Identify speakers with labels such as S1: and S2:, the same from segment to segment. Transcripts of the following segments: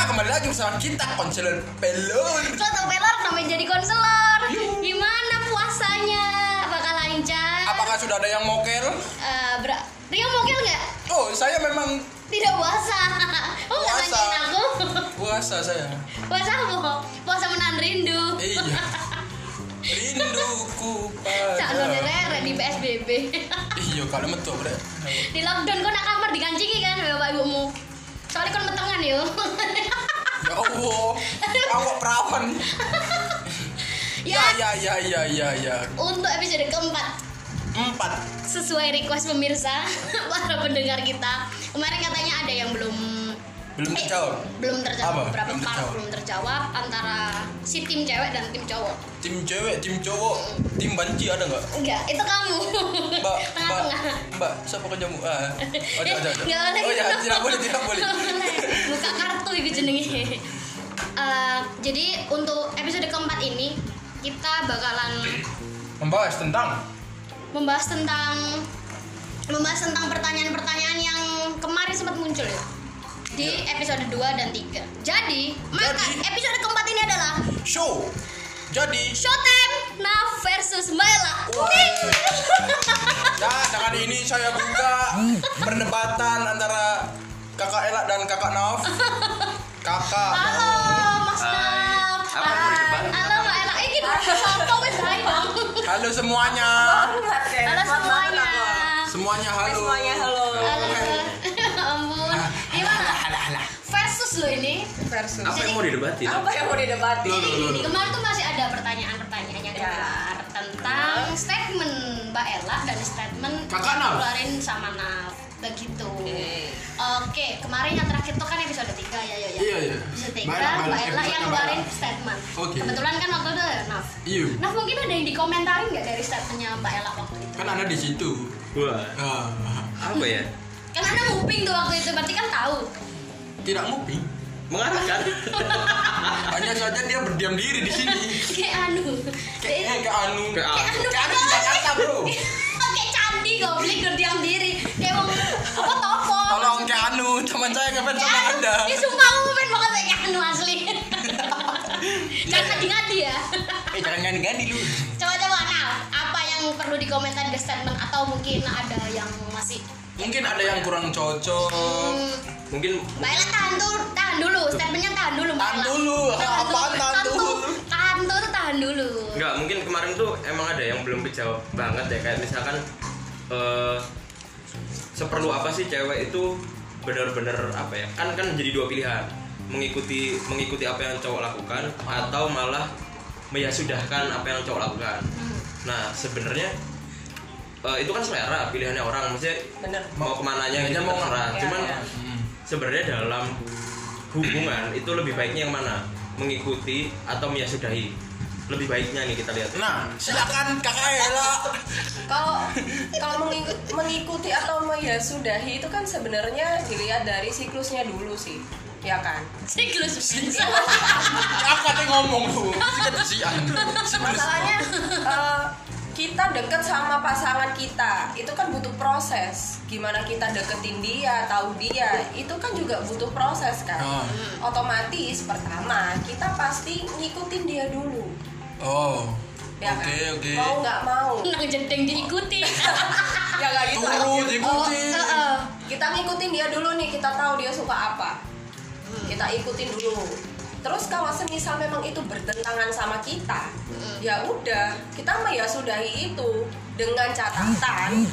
S1: Ah, kembali lagi bersama kita konselor pelur.
S2: Soto pelor namanya jadi konselor. Gimana puasanya? Apakah lancar?
S1: Apakah sudah ada yang mokel?
S2: Eh, bra- Rio mokel nggak?
S1: Oh, saya memang
S2: Tidak puasa. Oh nggak
S1: Puasa.
S2: nanyain aku.
S1: puasa saya.
S2: Puasa apa? Puasa menahan rindu.
S1: Iya. Rinduku
S2: Calon
S1: pada.
S2: ya? rere di PSBB.
S1: Iya, kalau metu bre.
S2: di lockdown kau nak kamar digancingi kan bapak ibumu. Soalnya kau metengan yo.
S1: Ya Allah. Awak perawan.
S2: ya.
S1: Ya ya ya ya ya ya.
S2: Untuk episode keempat
S1: Empat.
S2: sesuai request pemirsa para pendengar kita kemarin katanya ada yang belum
S1: Belum
S2: eh,
S1: terjawab.
S2: belum terjawab
S1: Apa?
S2: berapa
S1: Belum
S2: part
S1: terjawab.
S2: belum terjawab antara si tim cewek dan tim cowok
S1: Tim cewek, tim cowok, tim banci ada nggak?
S2: enggak itu kamu
S1: Mbak, mbak,
S2: tengah-tengah
S1: mbak, siapa kerjamu? Ah, ada, ada, ada.
S2: Nggak boleh
S1: Oh ya,
S2: gitu.
S1: tidak boleh, tidak boleh. Iya.
S2: buka kartu itu jenenge Eh, jadi untuk episode keempat ini kita bakalan
S1: Membahas tentang
S2: membahas tentang membahas tentang pertanyaan-pertanyaan yang kemarin sempat muncul ya di episode 2 dan 3. Jadi,
S1: Iya.
S2: maka
S1: Jadi-
S2: episode keempat ini adalah
S1: show. Jadi,
S2: Showtime Now versus Maila.
S1: Wah. ya dengan ini saya buka perdebatan antara kakak Ela dan kakak Nauf. Kakak.
S2: Halo, Mas
S3: Hai.
S2: Naf.
S3: Apa yang mau didebat?
S2: Halo, Mbak Ella. Ini soto wis hai, Bang.
S1: Halo semuanya.
S2: Halo semuanya.
S1: Semuanya halo.
S3: Semuanya halo.
S2: Halo. Ampun. Gimana? Versus lo ini.
S4: versus
S3: Apa yang mau didebatin?
S4: apa yang mau didebati
S2: Jadi gini, kemarin tuh masih ada pertanyaan-pertanyaan yang
S4: Ya.
S2: keluar tentang statement Mbak Ella dan statement
S1: Kakak
S2: yang
S1: Naf.
S2: keluarin sama Naf begitu. Oke, kemarin yang terakhir tuh kan episode 3 ya ya ya.
S1: Iya, iya.
S2: Episode 3
S1: Mbak Ella, Mbak Ella,
S2: Mbak Ella yang
S1: episode
S2: keluarin
S1: Mbak
S2: statement.
S1: Oke.
S2: Kebetulan kan waktu itu ada Naf.
S1: Iya.
S2: Naf mungkin ada yang dikomentarin nggak dari statementnya Mbak Ella waktu itu?
S1: Kan ada di situ.
S3: Wah,
S1: Ah,
S3: apa ya?
S2: Kan ada nguping tuh waktu itu, berarti kan tahu.
S1: tidak nguping.
S3: Mengarahkan.
S1: Hanya saja dia berdiam diri di sini.
S2: Kayak anu.
S1: Kayaknya kayak anu.
S3: Kayak
S2: Aduh,
S3: anu.
S1: Kayak anu di Jakarta, Bro.
S2: Oke, candi goblok berdiam diri. Dia mau apa toko?
S1: Tolong kayak anu, teman saya ngefans sama
S2: Anu,
S1: Anda.
S3: Iya.
S2: Dia sumpah aku pengen banget kayak Anu asli. Jangan ngadi-ngadi ya.
S1: Eh, jangan ganti-ganti lu.
S2: Coba-coba Nal, apa yang perlu dikomentar di statement atau mungkin ada yang masih
S1: Mungkin ada yang kurang cocok.
S2: Hmm,
S3: Mungkin
S2: Mbak Ella tahan dulu, tahan dulu, statementnya tahan dulu Mbak
S1: Tahan
S2: Ella.
S1: dulu, apaan tahan dulu?
S2: Tahan dulu tuh tahan dulu.
S3: enggak, mungkin kemarin tuh emang ada yang belum dijawab banget ya kayak misalkan eh seperlu apa sih cewek itu benar-benar apa ya? Kan kan jadi dua pilihan. Mengikuti mengikuti apa yang cowok lakukan atau malah meyasudahkan apa yang cowok lakukan.
S2: Hmm.
S3: Nah, sebenarnya eh, itu kan selera pilihannya orang maksudnya
S4: bener
S3: mau kemananya
S1: Kayaknya
S3: gitu
S1: mau-
S3: terserah.
S4: Iya,
S3: Cuman
S4: iya.
S1: Hmm.
S3: sebenarnya dalam hubungan itu lebih baiknya yang mana mengikuti atau menyasudahi lebih baiknya nih kita lihat
S1: Nah, silakan Kakak Ela.
S4: kalau kalau mengikut, mengikuti atau meyasudahi itu kan sebenarnya dilihat dari siklusnya dulu sih ya kan
S2: Siklus bisa.
S1: Kakak tadi ngomong lu. Si anu.
S4: masalahnya eh, kita deket sama pasangan kita itu kan butuh proses gimana kita deketin dia tahu dia itu kan juga butuh proses kan
S1: Oh.
S4: otomatis pertama kita pasti ngikutin dia dulu
S1: Oh.
S4: ya
S1: Oke,
S4: kan
S1: oke.
S4: mau nggak mau
S2: Nang jedeng diikuti.
S4: ya nggak gitu lah.
S1: Turun diikuti.
S2: Oh, heeh.
S4: kita ngikutin dia dulu nih kita tahu dia suka apa kita ikutin dulu terus kalau semisal memang itu bertentangan sama kita ya udah kita meyasudahi itu dengan catatan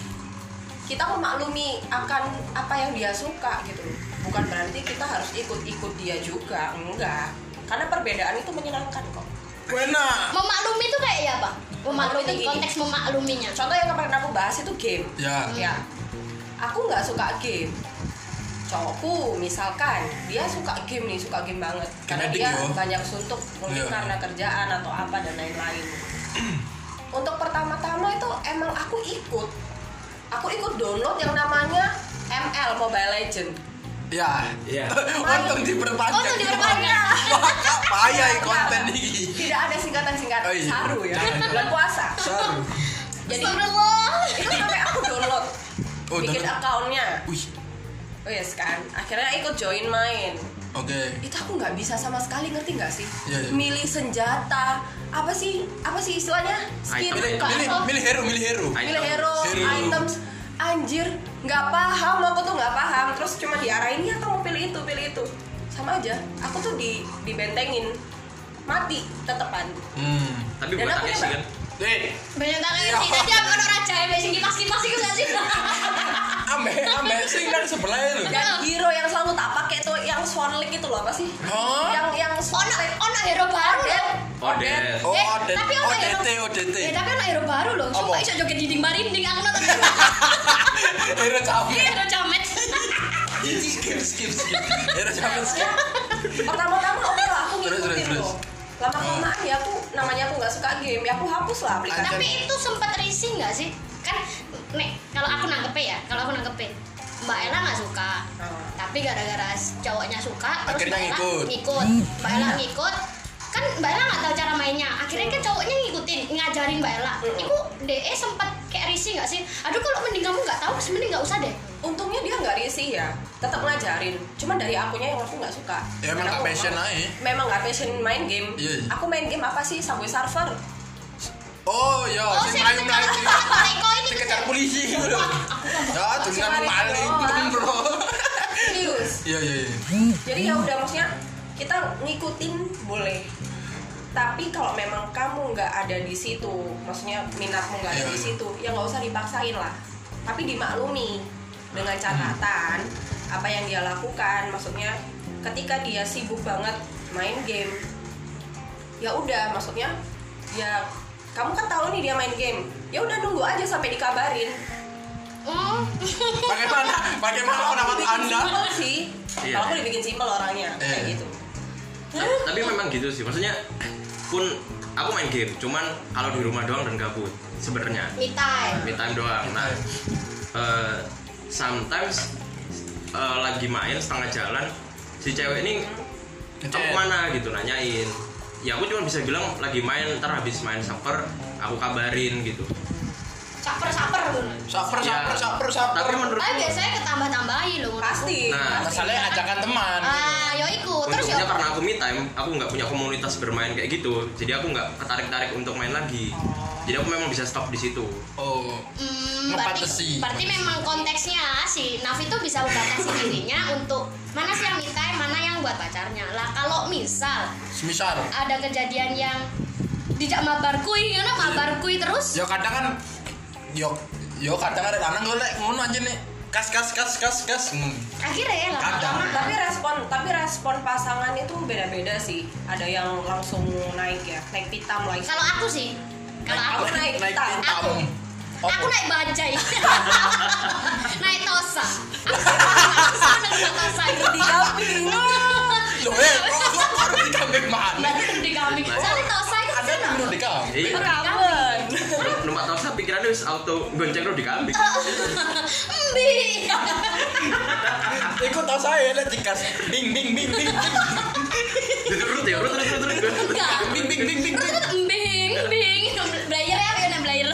S4: kita memaklumi akan apa yang dia suka gitu bukan berarti kita harus ikut-ikut dia juga enggak karena perbedaan itu menyenangkan kok
S1: Enak.
S2: Memaklumi itu kayak ya, Pak. Memaklumi
S4: Memaklumi gini.
S2: konteks memakluminya.
S4: contoh yang kemarin aku bahas itu game
S1: Ya.
S4: ya aku nggak suka game cowokku misalkan dia suka game nih suka game banget karena
S1: Kena
S4: dia
S1: ding, yo.
S4: banyak suntuk mungkin
S1: Iya.
S4: karena kerjaan atau apa dan lain-lain untuk pertama-tama itu emang aku ikut aku ikut download yang namanya ML Mobile Legend
S1: Ya.
S3: Iya.
S1: Untung diperpanjang.
S2: Untung Oh, diperpanjang.
S1: Kakak payah ini konten ini.
S4: tidak ada singkatan-singkatan
S1: Oh, iya.
S4: saru ya
S1: Jangan, jangan.
S4: bulan puasa
S1: Saru.
S4: jadi
S2: Astagfirullah.
S4: itu sampai aku download
S1: Oh,
S4: bikin
S1: download.
S4: accountnya
S1: Wih,
S4: wes kan akhirnya ikut join main
S1: Oke.
S4: itu aku nggak bisa sama sekali ngerti nggak sih
S1: Iya, iya.
S4: milih senjata apa sih apa sih istilahnya
S3: Item.
S4: skin
S1: Milih,
S4: bukan
S1: milih,
S4: apa?
S1: milih hero, milih hero.
S3: Milih
S4: milih
S3: Item.
S4: hero
S1: Hero.
S4: items anjir nggak paham aku tuh nggak paham terus cuma diarahin ya kamu pilih itu pilih itu sama aja aku tuh di dibentengin mati tetepan
S1: Hmm.
S3: Tapi
S4: Dan
S3: bukan
S4: aku
S3: Takeshi
S4: nyoba.
S3: kan?
S1: Eh,
S2: Banyak tangan
S1: Iya.
S2: sih. Tadi aku orang raja yang biasa kipas kipas itu nggak sih?
S1: ambe, ambe sing dari sebelahnya lu.
S4: dan hero yang selalu tak pakai tuh yang swan lake itu loh apa sih
S1: Hah?
S4: yang yang swan
S2: Ono
S4: lake
S2: ono hero baru loh.
S3: Odell.
S1: Oh,
S2: Eh,
S1: ODT,
S2: tapi ono hero-
S1: ODT, ODT.
S2: Ya tapi ono hero baru loh. Sumpah
S1: Apa?
S2: iso joget dinding barinding aku nonton.
S1: Hero capek.
S2: Iya hero jamet. Iya.
S1: Skip, skip, skip. Hero capek, skip.
S4: pertama-tama oke lah aku
S1: Terus, terus,
S4: ngikutin
S1: terus.
S4: loh lama kelamaan ya aku namanya aku nggak suka game ya aku hapus lah aplikasi
S2: Tapi itu sempat risih nggak sih? Kan nih kalau aku nangkepnya ya, kalau aku nangkepnya Mbak Ella nggak suka.
S4: Hmm.
S2: Tapi gara-gara cowoknya suka terus
S1: Akhirnya
S2: Mbak Ella
S1: ngikut.
S2: ngikut. Mbak Ella ngikut. Kan Mbak Ella nggak tahu cara mainnya. Akhirnya kan cowoknya ngikutin, ngajarin Mbak Ella.
S4: Mm-mm.
S2: Itu DE sempat kayak risih nggak sih? Aduh kalau mending kamu nggak tahu, mending nggak usah deh.
S4: untungnya dia nggak risih ya tetap ngajarin cuman dari akunya yang aku nggak suka
S1: Ya emang
S4: Karena
S1: gak
S4: aku
S1: passion
S4: nggak-
S1: aja.
S4: memang nggak passion main game
S1: Iya, iya.
S4: aku main game apa sih subway surfer
S1: Oh, ya, sing
S2: sih,
S1: melayu melayu.
S2: Maleko ini.
S1: Dikejar polisi gitu. Ya, dengan
S4: Cuma
S1: maling,
S4: itu doang.
S1: bro.
S4: serius
S1: Iya, iya, iya.
S4: jadi ya udah maksudnya kita ngikutin boleh tapi kalau memang kamu nggak ada di situ maksudnya minatmu nggak ada
S1: Iya.
S4: di situ ya nggak usah dipaksain lah tapi dimaklumi dengan catatan apa yang dia lakukan maksudnya ketika dia sibuk banget main game ya udah maksudnya ya kamu kan tahu nih dia main game ya udah nunggu aja sampai dikabarin
S2: Oh.
S1: Bagaimana? Bagaimana pendapat
S4: dibikin
S1: Anda?
S4: simpel sih
S3: Iya.
S4: kalau aku dibikin simpel orangnya kayak
S1: Iya.
S4: gitu
S3: Ta- Tapi memang gitu sih. Maksudnya pun aku main game, cuman kalau di rumah doang dan gabut sebenarnya.
S2: Me time.
S3: me time doang. Nah, eh, sometimes eh, lagi main setengah jalan si cewek ini kamu
S1: Ngechat.
S3: mana gitu nanyain. Ya aku cuma bisa bilang lagi main, ntar habis main supper aku kabarin gitu.
S2: Saper-saper dulu.
S1: Saper,
S3: Ya,
S1: saper, saper, saper.
S3: Tapi menurut
S2: Tapi biasanya ketambah-tambahin loh.
S4: pasti
S3: Nah,
S4: pasti.
S1: Masalahnya ajakan teman.
S2: Ah, yo
S1: Oh,
S2: ikut. Terus
S1: iya,
S2: yo.
S3: Untungnya Oh, karena aku me time, aku nggak punya komunitas bermain kayak gitu, jadi aku nggak ketarik-tarik untuk main lagi.
S4: Oh.
S3: Jadi aku memang bisa stop di situ.
S1: Oh.
S2: Hmm, berarti,
S1: Ngebatasi.
S2: berarti memang konteksnya si Nafi tuh bisa membatasi dirinya untuk mana sih yang me time, mana yang buat pacarnya. Lah kalau misal
S1: Semisal.
S2: ada kejadian yang dijak mabar kui, ngono mabar kui terus.
S1: Yo kadang kan yo yo kadang ada anak gue lek ngono aja nih. Kas kas kas kas kas. Hmm.
S2: Akhirnya ya
S1: Kadang.
S2: lama-lama.
S4: tapi respon tapi respon pasangan itu beda-beda sih ada yang langsung naik ya naik pitam lagi
S2: Kalau aku sih, kalau aku
S4: Aku naik hitam.
S1: hitam.
S2: Aku
S1: Apa?
S2: naik bajai. naik tosa. Aku suka naik tosa itu.
S4: di kambing
S1: Loh, eh, kok kok baru di kambing mana?
S2: Di kambing. Soalnya tosa itu
S1: Ada
S2: senang.
S1: dulu di kambing.
S3: Jadi
S4: Oh, rekaman
S3: numpak tahu saya pikirannya harus auto gonceng lo di kambing.
S2: Embi.
S1: Ikut tau saya lek di kas. Bing bing bing bing.
S3: Terus ya, terus terus terus terus.
S2: Enggak.
S1: Bing bing bing bing. bing.
S2: Embing, embing. Belayer ya, aku yang belayer.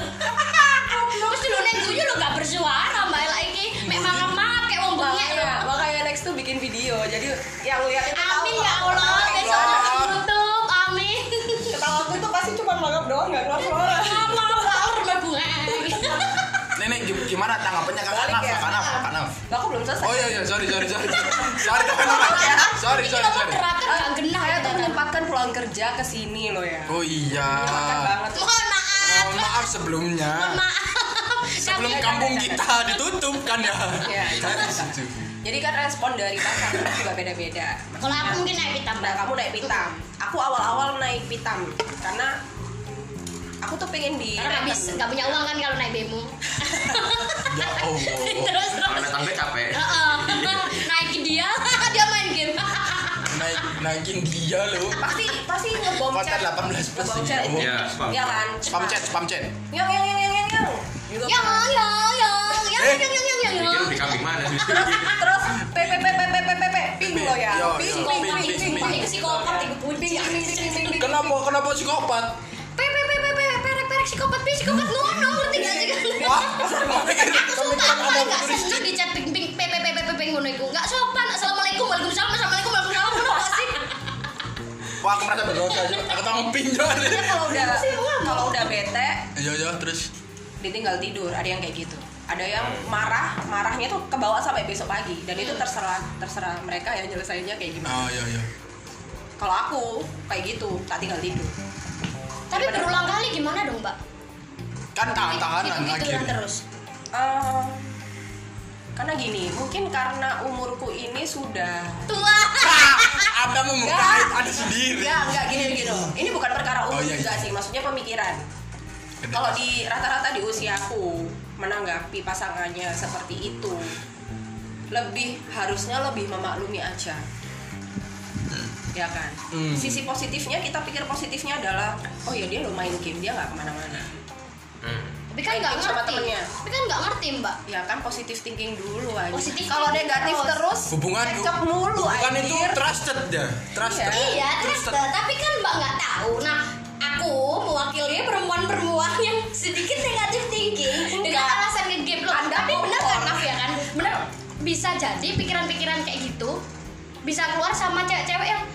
S2: Terus dulu neng guyu lo gak bersuara mbak Ella iki. Mek mangap-mangap kayak wong bengek
S4: makanya
S2: lo.
S4: makanya next tuh bikin video jadi yang lihat itu tahu
S2: Amin
S4: kalau
S2: ya
S4: aku
S2: Allah,
S4: naik
S2: besok
S4: doang.
S2: masuk YouTube. Amin.
S4: ketawa aku itu pasti cuma mangap doang nggak keluar
S2: Oh,
S4: suara
S2: Mama laur mek bengek.
S1: Nenek gim- gimana tanggapannya Kak
S4: Balik
S1: Naf?
S4: ya.
S1: Kak Naf, Kak Naf.
S4: Lah, aku belum selesai
S1: Oh iya iya, sorry sorry sorry. Sorry teman-teman.
S4: ya.
S1: Sorry
S2: Ini
S1: sorry
S2: lo
S1: sorry.
S2: moderator gak genah
S4: saya
S2: ya
S4: tuh
S2: Tata.
S4: menyempatkan pulang kerja ke sini loh ya
S1: Oh iya.
S4: Menyempatkan banget
S2: Mohon maaf.
S1: Mohon maaf sebelumnya. Sebelum
S4: ya,
S2: Kami-
S1: kampung kita ditutup kan ya. gitu.
S4: Iya, iya.
S1: Dari situ.
S4: jadi kan respon dari pasangan juga beda-beda
S2: Kalau aku mungkin naik hitam
S4: Nah, kamu naik pitam. Aku awal-awal naik pitam karena aku tuh pengen di
S2: Karena habis nggak punya uang kan kalau naik bemo.
S1: Ya Allah.
S2: terus
S3: Kalau
S2: terus.
S3: naik tangga capek.
S4: Ya.
S2: Heeh. Naikin dia, dia main game.
S1: Naik naikin dia loh.
S4: pasti pasti ngebom
S1: Konten
S4: chat.
S1: 18 plus
S4: Ngebom
S1: ini.
S4: chat.
S1: Oh.
S3: Ya, spam.
S4: Iya kan?
S1: Spam chat, spam chat.
S4: Yang yang yang yang yang yang. Gitu.
S2: yang yang yang yang
S1: Eh,
S2: yang yang yang yang
S3: Pikir
S2: yang.
S3: lo di kambing mana sih?
S4: Terus p p p p p p p p ping lo ya.
S1: Yo,
S4: Ping
S1: yo,
S4: ping
S1: ping,
S4: ping
S1: ping,
S4: ping
S1: ping.
S4: ping psikopat ikut kunci. Ping ping ping ping ping.
S1: Kenapa kenapa psikopat?
S2: Pe pe pe pe pe perek perek psikopat pe psikopat ngono ngerti gak sih?
S1: Wah, kamu pikir
S2: Aku
S1: kamu pikir
S2: sumpah aku
S1: ada
S2: paling gak
S1: futuristik.
S2: seneng di chat ping ping pe pe pe pe pe ngono iku.
S1: Wah, aku merasa berdosa aja. Aku tak mau pinjol.
S4: Dia kalau udah kalau udah bete
S1: Iya, iya, terus.
S4: ditinggal tidur ada yang kayak gitu ada yang marah marahnya tuh kebawa sampai besok pagi dan itu terserah terserah mereka ya nyelesainnya kayak gimana
S1: Oh, iya, iya.
S4: kalau aku kayak gitu tak tinggal tidur
S1: Iya,
S2: Tapi berulang kali gimana dong, Mbak?
S1: Kan
S4: Gitu,
S1: tahan-tahanan lagi.
S2: Gitu-gituan terus.
S4: Eh, karena gini mungkin karena umurku ini sudah
S2: Tua.
S1: Ada mau
S4: Enggak.
S1: mengkait ada sendiri.
S4: Enggak, enggak gini gini. Ini bukan perkara umur
S1: Oh, iya, iya.
S4: juga sih, maksudnya pemikiran. Kalau di rata-rata di usiaku menanggapi pasangannya seperti itu, lebih harusnya lebih memaklumi aja. Ya kan.
S1: Hmm.
S4: Sisi positifnya kita pikir positifnya adalah, oh ya dia lo main game dia nggak kemana-mana.
S3: Hmm.
S2: Tapi kan nggak
S4: Main game sama
S2: ngerti.
S4: temennya.
S2: Tapi kan nggak ngerti, Mbak.
S4: Ya kan positif thinking dulu aja.
S2: Positive
S4: Kalau
S2: thinking
S4: negatif
S2: terus.
S4: terus,
S1: Hubungan
S4: cekcok mulu
S1: Bukan itu
S4: anjir.
S1: trusted ya. Trusted.
S4: Iya.
S2: Iya, trusted. Tapi kan Mbak nggak tahu. Nah, aku mewakili perempuan-perempuan yang sedikit negatif thinking dengan
S4: Enggak.
S2: alasan ngegame loh.
S4: Anda
S2: Tapi bener
S4: bohong.
S2: kan, Naf ya kan? Bener. Bisa jadi pikiran-pikiran kayak gitu bisa keluar sama cewek-cewek yang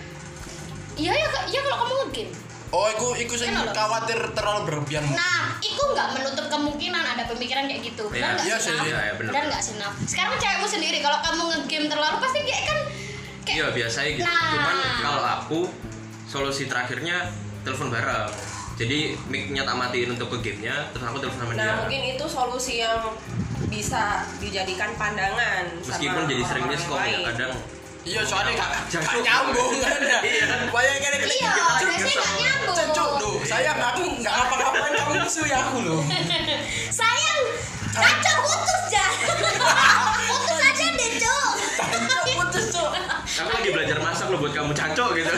S2: Iya ya, Kak. iya kalau kamu ngegame.
S1: Oh, aku iku sing
S2: Kenapa?
S1: khawatir terlalu berlebihan.
S2: Nah, itu nggak menutup kemungkinan ada pemikiran kayak gitu. Benar
S3: Iya,
S2: nggak
S1: iya
S2: sih,
S1: sih,
S2: Naf?
S1: iya,
S3: iya, benar.
S2: Benar nggak sih, Naf? Sekarang cewekmu sendiri, kalau kamu ngegame terlalu pasti dia kan kayak
S3: Iya biasanya gitu.
S2: Nah.
S3: Cuman kalau aku solusi terakhirnya telepon bareng. Jadi mic-nya tak matiin untuk ke gamenya, terus aku telepon sama
S1: Iya.
S3: dia.
S4: Nah, mungkin itu solusi yang bisa dijadikan pandangan
S3: Meskipun jadi sering
S4: orang-orang
S3: miskom ya
S4: lain.
S3: kadang.
S1: Iya, soalnya gak gak
S3: Jancuk.
S1: nyambung kan ya.
S3: Iya.
S1: Bayangin ini
S2: Iya, biasanya nggak nyambung.
S1: Cecuk gitu, loh, sayang aku nggak ngapa-ngapain kamu musuh ya aku loh.
S2: Sayang, kacau putus ya. putus aja deh, Cuk.
S1: Cuk, putus cuk.
S3: Aku lagi belajar masak loh buat kamu cacok gitu.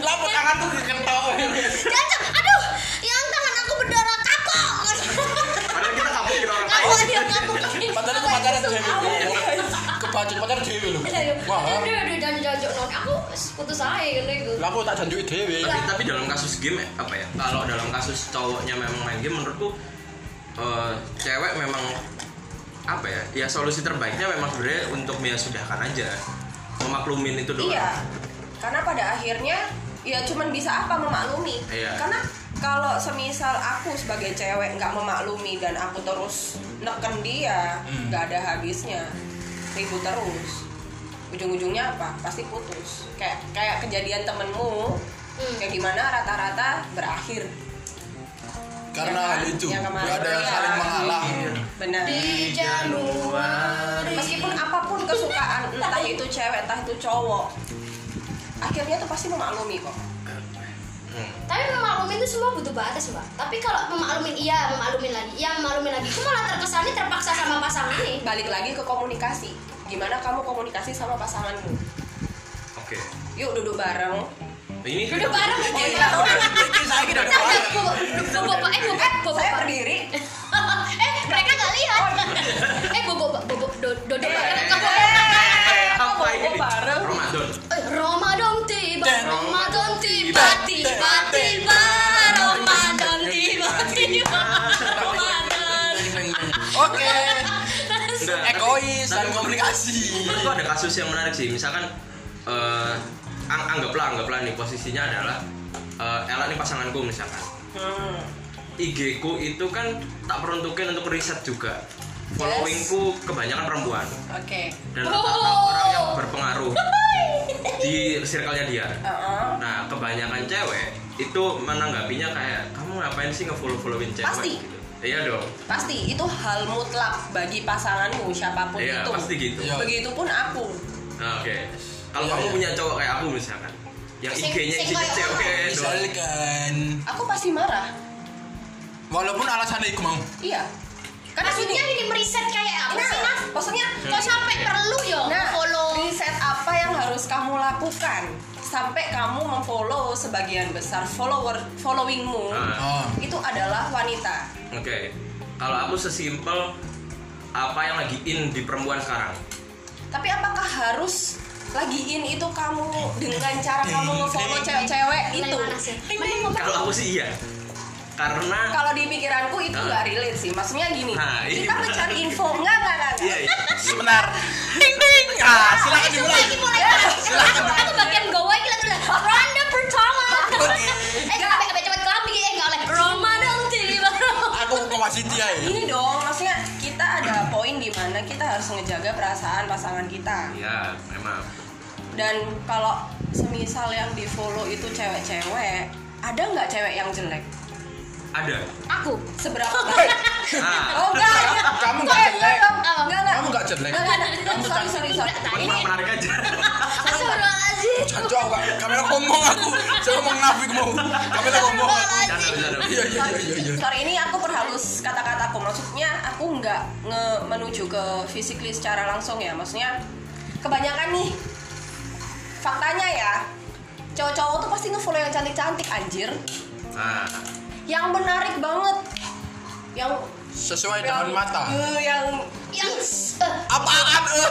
S1: Lapor tangan tuh kekentok.
S2: Cocok. Aduh, yang tangan aku berdarah kapok.
S3: Padahal kita nggak mungkin orang
S2: Kamu
S3: lain.
S2: dia kapokin.
S1: Padahal itu pacaran dewe. Kebacut pacaran dewe loh. Iya.
S2: Iya,
S1: Wah,
S2: Aduh, aduh, dan cocok non. Aku putus aja gitu. gitu.
S1: lah aku tak janjuki dewe.
S3: tapi
S2: Iya.
S3: tapi dalam kasus game apa ya kalau dalam kasus cowoknya memang main game menurutku eh, cewek memang apa ya ya solusi terbaiknya memang sebenarnya untuk ya sudahkan aja memaklumin itu doang
S4: Iya, karena pada akhirnya ya cuman bisa apa memaklumi.
S3: Iya.
S4: Karena kalau semisal aku sebagai cewek nggak memaklumi dan aku terus neken dia,
S1: Hmm.
S4: nggak ada habisnya, ribut terus. Ujung-ujungnya apa? Pasti putus. Kayak kayak kejadian temenmu,
S2: Hmm.
S4: yang dimana rata-rata berakhir.
S1: Karena
S4: Ya kan?
S1: hal itu
S2: Iya,
S4: Yang kemarin
S1: nggak ada yang
S4: ya.
S1: saling mengalah.
S4: Benar.
S2: Di Januari.
S4: meskipun apapun kesukaan entah itu cewek entah itu cowok akhirnya tuh pasti memaklumi kok
S3: Hmm.
S2: Tapi memaklumin itu semua butuh batas, Mbak. Tapi kalau memaklumin iya, memaklumin lagi, iya memaklumin lagi. Aku malah terkesannya terpaksa sama pasangan nih.
S4: balik lagi ke komunikasi gimana kamu komunikasi sama pasanganmu
S3: oke Nah,
S4: yuk duduk bareng
S3: ini
S2: Duduk bareng. Iya,
S4: Iya, iya.
S1: Iki saya kira ada apa?
S2: Bapak, eh bapak,
S4: saya
S2: bapak,
S4: berdiri Oh,
S2: eh mereka nggak lihat.
S4: iya.
S2: Eh bobo bobo do do do.
S4: Eh,
S3: Eh, apa
S4: Kok
S3: ini
S4: bareng?
S3: Ramadan
S2: Eh, Ramadan tiba,
S1: Dan-
S2: Ramadan tiba, tiba tiba, Ramadan tiba tiba, Ramadan.
S1: Oke,
S3: Enggak, tapi-
S1: egois dan
S3: tapi-
S1: komunikasi.
S3: itu ada kasus yang menarik sih misalkan eh, ang- anggaplah anggaplah nih posisinya adalah eh, Ella nih pasanganku misalkan
S4: hmm.
S3: IG ku itu kan tak peruntukin untuk riset juga followingku kebanyakan perempuan
S4: oke
S3: dan rata-rata
S2: Oh.
S3: orang yang berpengaruh di circle-nya dia
S4: Heeh.
S3: nah kebanyakan cewek itu menanggapinya kayak kamu ngapain sih nge-follow-followin cewek
S4: Pasti.
S3: gitu iya dong
S4: pasti itu hal mutlak bagi pasanganmu siapapun
S3: Iya,
S4: itu
S3: pasti gitu.
S1: Iya.
S4: begitupun aku
S3: Nah, oke kalau
S1: Iya,
S3: kamu
S1: iya.
S3: punya cowok kayak aku misalkan yang
S2: Sing-
S3: IG-nya
S2: sing
S3: isinya
S2: kayak
S3: cewek gitu. doang
S1: Misalkan,
S4: aku pasti marah
S1: walaupun alasannya iku mau.
S4: iya karena
S2: Maksudnya
S4: gini
S2: ini meriset kayak apa
S4: nah,
S2: sih, Naf?
S4: maksudnya
S2: Kok sampai perlu ya yo
S4: Nah,
S2: follow?
S4: riset apa yang harus kamu lakukan sampai kamu memfollow sebagian besar follower followingmu
S3: Ah.
S1: Oh.
S4: itu adalah wanita.
S3: oke kalau aku sesimpel apa yang lagi in di perempuan sekarang
S4: Tapi apakah harus lagi in itu kamu dengan cara kamu ngefollow cewek-cewek itu?
S2: Mulai panas ya.
S3: kalau aku sih iya karena
S4: Kalau di pikiranku itu
S3: Ah.
S4: nggak relate sih. Maksudnya gini,
S3: Nah, ini
S1: iya,
S4: kita
S3: benar.
S4: mencari info nggak nggak nggak. nggak.
S3: iya iya.
S1: Sebentar. Ding ding. Ah, silakan
S2: Ayo,
S1: dimulai.
S2: mulai, mulai. Aku bagian gowa gila tuh. Randa per
S1: ini.
S2: Eh, sampai sampai cepet kelambi eh enggak oleh. Roma dong cili baru.
S1: Aku ke wasit ya.
S4: ini dong maksudnya kita ada poin di mana kita harus ngejaga perasaan pasangan kita
S3: Iya, emang.
S4: dan kalau semisal yang di follow itu cewek-cewek ada nggak cewek yang jelek
S3: Ada.
S2: Aku.
S4: seberapa banyak
S3: Ah,
S4: oh enggak
S1: Kamu nggak jelek.
S2: Oh.
S4: enggak enggak
S1: Kamu nggak jelek.
S4: enggak enggak sorry sorry sorry
S2: iya.
S3: buat
S4: ini
S3: menarik aja.
S2: Nah, Astagfirullahaladzim.
S1: Jancu aku nggak- kamera ngomong aku. Saya ngomong nafik mau. Kamera ngomong aku.
S3: Bercanda, bercanda.
S1: Iya iya iya iya, iya.
S4: Sorry ini aku perhalus kata-kataku maksudnya aku nggak nge menuju ke physically secara langsung ya maksudnya kebanyakan nih faktanya ya cowok-cowok tuh pasti ngefollow yang cantik-cantik anjir
S3: Nah,
S4: yang menarik banget yang
S1: Sesuai dengan mata.
S4: Eh, yang
S2: Yang eh,
S1: Apaan? eh?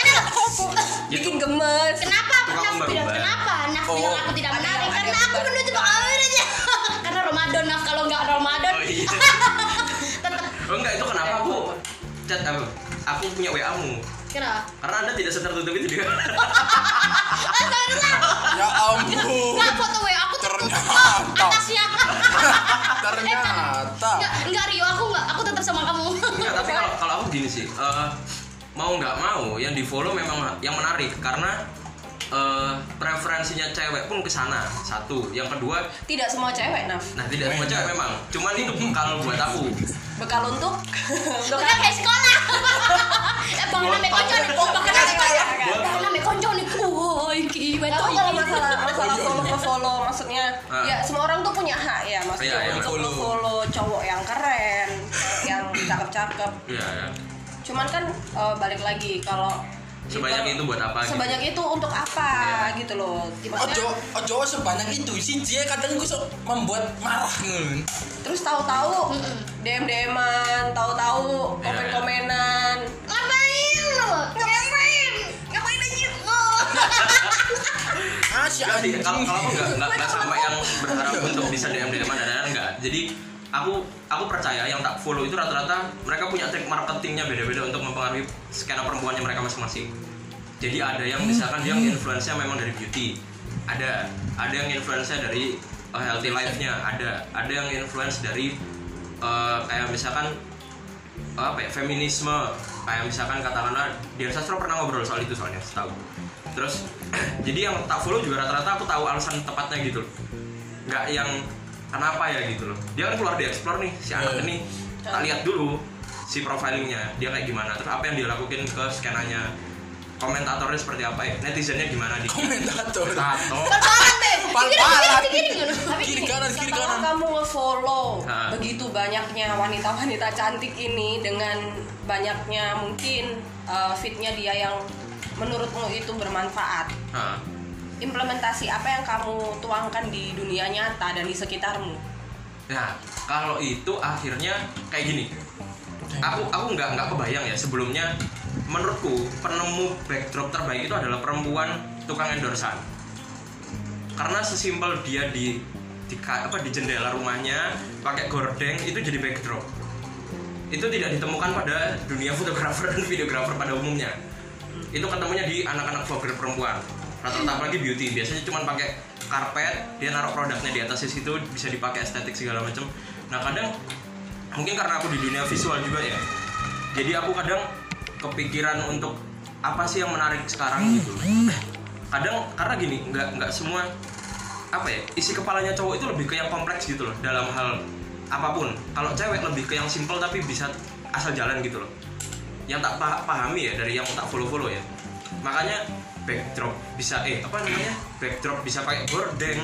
S1: Gitu.
S4: bikin gemes
S2: Kenapa aku
S3: Tukang
S2: Naf bilang
S3: merubah.
S2: kenapa Naf
S1: Oh.
S2: bilang aku tidak
S4: Ada-
S2: menarik
S4: ada
S2: karena aku
S4: perubahan.
S2: menutup auranya karena Ramadan Naf kalau nggak Ramadan
S3: Oh, iya.
S2: tetap
S3: oh enggak itu kenapa aku chat apa? Aku punya WA-mu.
S2: kenapa?
S3: Karena Anda tidak setertutup itu dia.
S2: Astagfirullah
S1: Ya ampun.
S2: nggak foto WA aku tertutup
S1: Ternyata.
S2: kok atasnya
S1: Ternyata.
S2: Eh, nggak nggak Rio aku nggak aku tetap sama kamu
S3: Enggak, tapi kalau kalau aku gini sih, eh, mau nggak mau yang di follow memang yang menarik karena eh, preferensinya cewek pun ke sana satu. Yang kedua,
S4: tidak semua cewek naf
S3: nah tidak semua cewek memang. Cuman itu kalau buat aku,
S4: bekal untuk untuk
S2: udah kayak sekolah eh bang name konco nih bang
S4: Bukan
S2: name konco
S4: sekolah, kan?
S2: bang name konco nih woi iki
S3: Oh,
S4: Aku
S2: betul
S3: iya,
S4: kalau masalah masalah follow ke follow maksudnya
S3: Ah.
S4: ya semua orang tuh punya hak ya maksudnya
S3: Iya, iya,
S4: untuk
S1: follow.
S4: follow. follow cowok yang keren, cowok yang cakep-cakep.
S3: ya, ya.
S4: Cuman kan eh, balik lagi kalau
S3: Sebanyak
S4: kita-
S3: itu buat apa, gitu? Iya.
S4: Sebanyak itu untuk apa gitu loh.
S1: Ojo,
S4: Maksudnya,
S1: ojo sebanyak itu sih dia kadang gue sok membuat marah ngun.
S4: terus tahu-tahu DM DM-an, tahu-tahu
S3: Iya, iya.
S4: komen-komenan.
S2: ngapain lo ngapain ngapain aja lo
S1: Ah si
S3: Enggak
S1: anjing.
S3: sih, ya, kalau kalau aku nggak nggak nggak sampai yang berharap untuk bisa DM DM dan enggak. Jadi aku aku percaya yang tak follow itu rata-rata mereka punya trik marketingnya beda-beda untuk mempengaruhi skena perempuannya mereka masing-masing. Jadi ada yang misalkan dia influence-nya memang dari beauty, ada ada yang influence-nya dari uh, healthy life-nya, ada ada yang influence dari uh, kayak misalkan apa ya feminisme kayak misalkan katakanlah Dian Sastro pernah ngobrol soal itu soalnya setahu terus jadi yang tak follow juga rata-rata aku tahu alasan tepatnya gitu loh nggak yang kenapa ya gitu loh dia kan keluar di explore nih si anak
S1: Iya.
S3: ini tak lihat dulu si profilingnya dia kayak gimana terus apa yang dia lakuin ke skenanya komentatornya seperti apa ya netizennya gimana di
S1: Komentator.
S3: tato
S2: Pal-palan deh.
S1: Pal-palan.
S2: Kiri kiri kiri.
S4: Tapi
S1: Kiri
S4: gini,
S1: kanan, kiri
S4: setelah
S1: kanan.
S4: kamu ngefollow
S3: Ah.
S4: begitu banyaknya wanita-wanita cantik ini dengan banyaknya mungkin uh, fitnya dia yang menurutmu itu bermanfaat.
S3: Nah,
S4: Implementasi apa yang kamu tuangkan di dunia nyata dan di sekitarmu?
S3: Nah, kalau itu akhirnya kayak gini. Aku aku nggak nggak kebayang ya sebelumnya. Menurutku penemu backdrop terbaik itu adalah perempuan tukang endorsan. Karena sesimpel dia di di ka- apa di jendela rumahnya pakai gorden itu jadi backdrop. Itu tidak ditemukan pada dunia fotografer dan videografer pada umumnya. Itu ketemunya di anak-anak vlogger perempuan. Rata-rata apalagi beauty biasanya cuma pakai karpet, dia naruh produknya di atas situ bisa dipakai estetik segala macam. Nah, kadang mungkin karena aku di dunia visual juga ya. Jadi aku kadang kepikiran untuk apa sih yang menarik sekarang gitu. Kadang karena gini, nggak nggak semua apa ya isi kepalanya cowok itu lebih ke yang kompleks gitu loh dalam hal apapun. Kalau cewek lebih ke yang simple tapi bisa asal jalan gitu loh. Yang tak pa- pahami ya dari yang tak follow-follow ya. Makanya backdrop bisa eh apa namanya backdrop bisa pakai gorden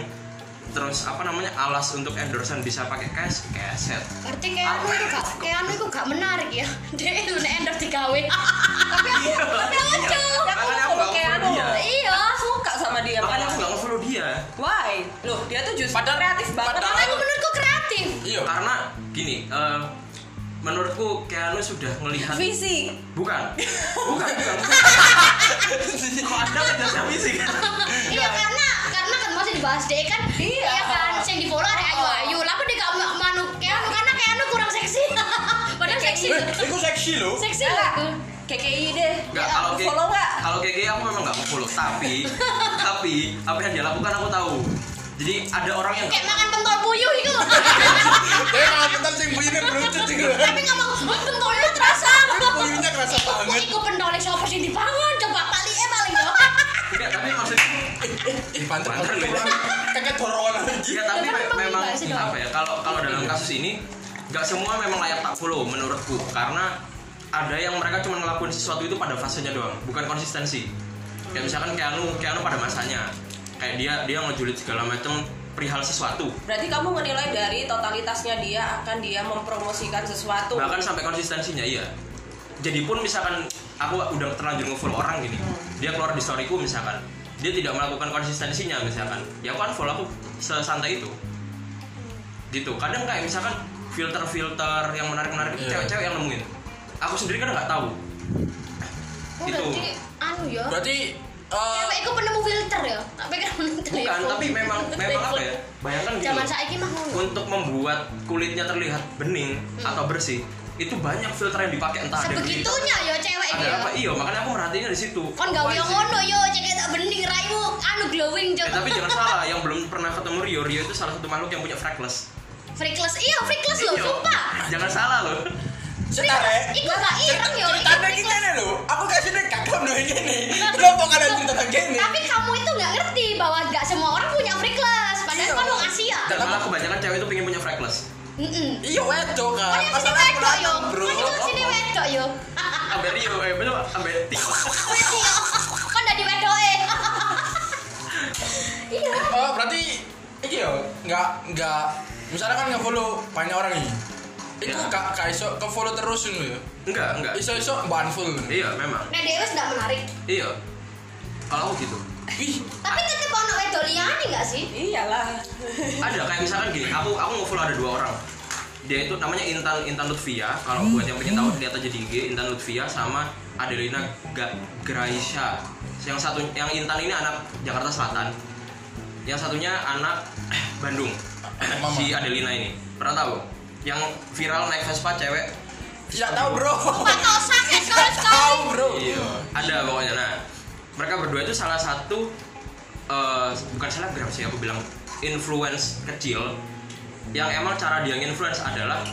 S3: terus apa namanya alas untuk endorsean bisa pakai cash keset
S2: Ngerti kayak anu itu kak, kayak anu itu gak menarik ya. Dia itu nih endor digawe. Tapi aku tapi lucu.
S3: Iya. Makanya aku nggak
S4: Ya,
S3: follow
S4: Kayak anu,
S3: dia.
S2: Iya.
S4: suka sama dia.
S3: Makanya
S4: makanya-
S3: aku nggak follow dia.
S4: Why? Loh, dia tuh justru
S1: Padahal-
S4: kreatif banget.
S1: padahal-
S2: Makanya menurutku kreatif.
S1: Iya.
S3: Karena gini, eh, menurutku Keanu sudah melihat
S4: Visi.
S3: bukan, bukan, bukan. Kok anda menjelaskan visi?
S2: Iya karena karena kan masih dibahas deh kan.
S4: Iya.
S2: kan. Yang di follow ada Ayu Ayu. Lalu dia gak ma- manu kayak anu karena kayak anu kurang seksi. gitu. Padahal seksi.
S1: Eh, itu seksi loh.
S2: Seksi aku.
S4: KKI deh.
S3: Enggak, kalau kayak
S4: Aku Iya, follow nggak?
S3: kalau kayak gini aku memang nggak mau follow. Tapi, tapi apa yang dia lakukan aku tahu. jadi ada orang yang
S4: Iya.
S2: kayak makan pentol puyuh itu loh
S1: Tapi malah bentar Eh, sing buyutnya berucut sih.
S2: tapi ngomong "Oh, pentolnya terasa
S1: Buyutnya kerasa banget.
S2: Iku pentolnya siapa sih dibangun coba paling eh paling ya
S3: enggak tapi maksudku
S1: Ih, pantes aku
S3: Pantes, ya.
S1: bilang, kakek dorongan aja.
S3: Iya tapi
S2: Tapi
S3: me-
S2: memang
S3: memang
S2: imbas itu.
S3: apa ya kalau kalau dalam kasus ini nggak semua memang layak tak follow menurutku karena ada yang mereka cuma ngelakuin sesuatu itu pada fasenya doang bukan konsistensi kayak misalkan Keanu Keanu pada masanya kayak dia dia ngejulit segala macam perihal sesuatu
S4: Berarti kamu menilai dari totalitasnya dia akan dia mempromosikan sesuatu.
S2: Gitu.
S3: bahkan sampai konsistensinya iya jadi pun misalkan aku udah terlanjur nge-follow orang gini
S2: Hmm.
S3: dia keluar di storyku misalkan dia tidak melakukan konsistensinya misalkan ya aku unfollow aku sesantai itu
S2: Hmm.
S3: gitu kadang kayak misalkan filter-filter yang menarik-menarik itu
S1: Iya.
S3: cewek-cewek yang nemuin aku sendiri kan nggak tahu
S2: Oh,
S3: Gitu.
S2: berarti anu ya
S1: Berarti eh,
S2: Cewek iku penemu filter ya tak pikir penemu
S3: bukan
S2: telepon
S3: tapi memang memang apa ya bayangkan gitu
S2: Iya, zaman saiki mah ngono
S3: untuk membuat kulitnya terlihat bening
S2: Hmm.
S3: atau bersih itu banyak filter yang dipakai entah ada di-
S2: sebegitunya ya cewek iku
S3: gitu. ada
S2: ya Kan
S3: apa iya makanya aku merhatiinnya di situ
S2: kon gawe
S3: Why
S2: yang
S3: sih?
S2: ngono yo cek tak bening raimu anu glowing
S3: Eh, tapi
S2: coba
S3: jangan salah, yang belum pernah ketemu Rio, Rio itu salah satu makhluk yang punya freckles.
S2: freakless iya freakless loh
S3: Iya.
S2: sumpah
S3: Jangan salah loh.
S1: setare.
S2: iku gak ireng yo iku
S1: Tanda
S2: freakless.
S1: kita nih lo, aku kasih deh kakak udah gini. Kenapa kalian cerita tentang gini?
S2: tapi kamu itu nggak ngerti bahwa nggak semua orang punya freakless padahal
S1: Iya.
S2: kan orang Asia
S3: Dan malah kebanyakan cewek itu pengen punya freckles.
S2: Mm-mm.
S1: Iya wedok kan.
S2: Kau
S3: Ah,
S2: yang sini
S1: Masalah
S2: wedok yo,
S1: berantem,
S2: kau
S1: bro.
S2: yang
S3: Oh,
S2: sini wedok yo.
S3: Ambil Rio, eh betul, ambil Tio.
S2: Kau udah di wedok eh. Iya.
S1: Oh berarti iki yo nggak nggak misalnya kan nge-follow banyak orang nih. Iku
S3: Ya.
S1: kak kak iso ke follow terus ngono ya.
S3: Enggak, enggak.
S1: Iso iso banful.
S3: Iya, memang.
S2: Nah dia wes nggak menarik.
S3: Iya. Kalau aku gitu.
S1: Ih,
S2: Tapi tetep ono wedok liane nggak sih?
S4: Iyalah.
S3: Ada kayak misalkan gini, aku aku nge-follow ada dua orang. Dia itu namanya Intan Intan Lutfia. Kalau buat yang pengen tahu lihat aja di IG Intan Lutfia sama Adelina Ga Graisha. Yang satu yang Intan ini anak Jakarta Selatan. Yang satunya anak Bandung.
S1: Mama.
S3: si Adelina ini. Pernah tahu? Yang viral naik Vespa cewek.
S1: tidak tahu bro.
S2: Patosan kan kalau sekali.
S1: Tahu bro.
S3: Iya. Ada pokoknya. Nah, mereka berdua itu salah satu eh bukan selebgram sih aku bilang influence kecil yang emang cara dia influence adalah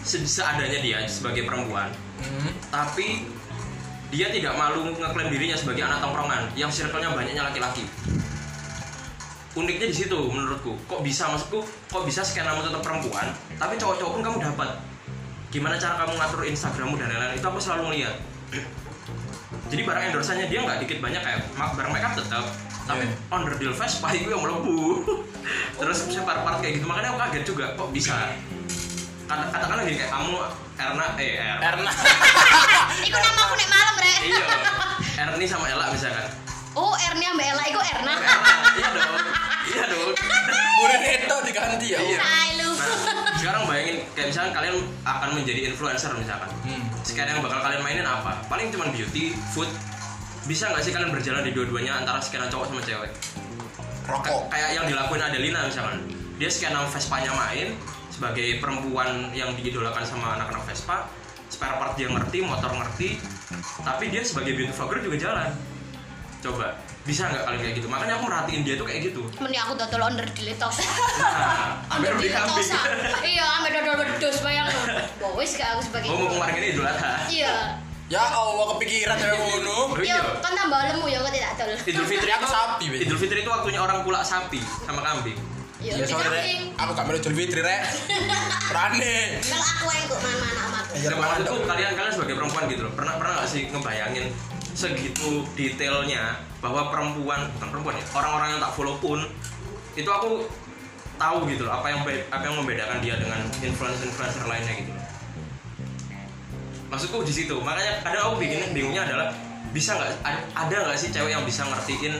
S3: se- seadanya dia sebagai perempuan
S1: Hmm.
S3: tapi dia tidak malu ngeklaim dirinya sebagai anak tongkrongan yang circle-nya banyaknya laki-laki uniknya di situ menurutku kok bisa maksudku kok bisa skenamu tetap perempuan tapi cowok-cowok pun kamu dapat gimana cara kamu ngatur instagrammu dan lain-lain itu aku selalu ngeliat jadi barang endorsannya dia nggak dikit banyak kayak ma- barang makeup tetap tapi
S1: Yeah.
S3: under deal Vespa itu yang melebu terus saya part-part kayak gitu makanya aku kaget juga kok bisa Kata- katakanlah gini kayak kamu Erna eh Erna
S1: Karena
S2: Iku nama aku nek malam rek.
S3: iya Erni sama Ella misalkan
S2: Oh Ernia Mbak Ella, iku Erna.
S3: Erna iya dong iya dong
S1: Buren itu diganti ya.
S3: Iya.
S2: Hai lu.
S3: nah sekarang bayangin kayak misalkan kalian akan menjadi influencer misalkan
S1: Hmm.
S3: sekarang yang bakal kalian mainin apa paling cuma beauty food bisa nggak sih kalian berjalan di dua-duanya antara skena cowok sama cewek
S1: Rokok.
S3: Ka- kayak yang dilakuin Adelina misalkan dia skena Vespanya main sebagai perempuan yang diidolakan sama anak-anak Vespa spare part dia ngerti motor ngerti tapi dia sebagai beauty vlogger juga jalan coba bisa nggak kalian kayak gitu makanya aku merhatiin dia tuh kayak gitu
S2: Mending aku dodol under dilitos.
S3: nah ambil
S2: Under
S3: di kambing
S2: dilitosan. Iya, ambil dodol wedus bayang. Wah, wis gak aku sebagai.
S3: oh mau kemarin ini idul adha
S2: Iya.
S1: Ya Allah kepikiran ya ngono.
S3: Oh
S2: Yo,
S3: iya
S2: kan tambah lemu ya kok tidak dol.
S3: idul fitri
S1: Aku
S3: aku
S1: sapi, Be.
S3: idul fitri itu waktunya orang pulak sapi sama kambing Iya,
S2: Yo,
S1: Ya sorry rek,
S2: dikambing.
S1: aku gak melu Idul Fitri rek. Rane.
S2: Kalau aku yang kok mana-mana amat.
S1: Ya,
S3: Dan
S1: malah
S3: Iya, maksudku
S1: dong.
S3: kalian kalian sebagai perempuan gitu loh pernah pernah nggak sih ngebayangin segitu detailnya bahwa perempuan bukan perempuan ya orang-orang yang tak follow pun itu aku tahu gitu loh apa yang be- apa yang membedakan dia dengan influencer influencer lainnya gitu loh maksudku di situ makanya kadang aku bikin bingungnya adalah bisa nggak ad- ada nggak sih cewek yang bisa ngertiin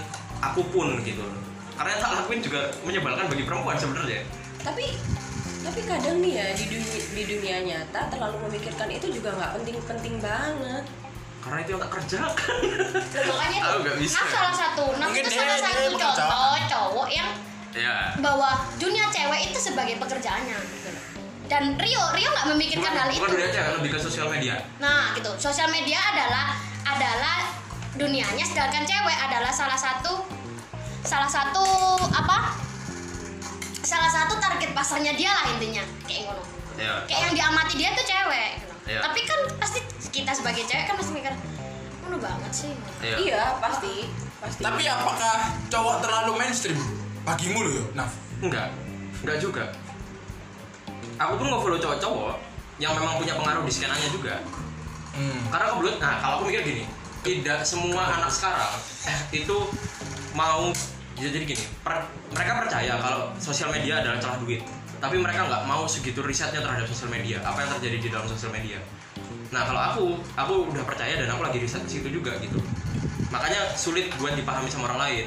S3: aku pun gitu loh karena yang tak lakuin juga menyebalkan bagi perempuan sebenarnya
S4: Tapi tapi kadang nih ya di dunia, di dunia nyata terlalu memikirkan itu juga nggak penting-penting banget.
S3: karena itu yang tak kerjakan
S2: makanya
S3: Aku nggak bisa.
S2: nah salah satu nah
S1: Mungkin
S2: itu
S1: dia-
S2: salah satu
S1: dia
S2: contoh
S1: pekerjaan.
S2: cowok yang
S3: ya
S2: bahwa dunia cewek itu sebagai pekerjaannya gitu loh. dan Rio Rio nggak memikirkan hal itu
S3: bukan dunia cewek lebih ke sosial media
S2: nah gitu sosial media adalah adalah dunianya sedangkan cewek adalah salah satu salah satu apa salah satu target pasarnya dia lah intinya kayak ngono
S3: Ya.
S2: kayak yang diamati dia tuh cewek gitu.
S3: Iya.
S2: tapi kan pasti kita sebagai cewek kan pasti mikir ngono banget sih
S3: Iya. ya-
S4: Iya, pasti. Pasti.
S1: Tapi apakah cowok terlalu mainstream? Bagimu loh, Naf.
S3: Enggak. Enggak juga. Aku pun nge-follow cowok-cowok yang memang punya pengaruh di skenanya juga.
S1: Hmm.
S3: Karena kebetulan, nah kalau aku mikir gini, tidak semua anak sekarang eh, itu mau ya jadi gini, per- mereka percaya kalau sosial media adalah celah duit, tapi mereka nggak mau segitu risetnya terhadap sosial media, apa yang terjadi di dalam sosial media. Nah kalau aku, aku udah percaya dan aku lagi riset di situ juga gitu. Makanya sulit buat dipahami sama orang lain.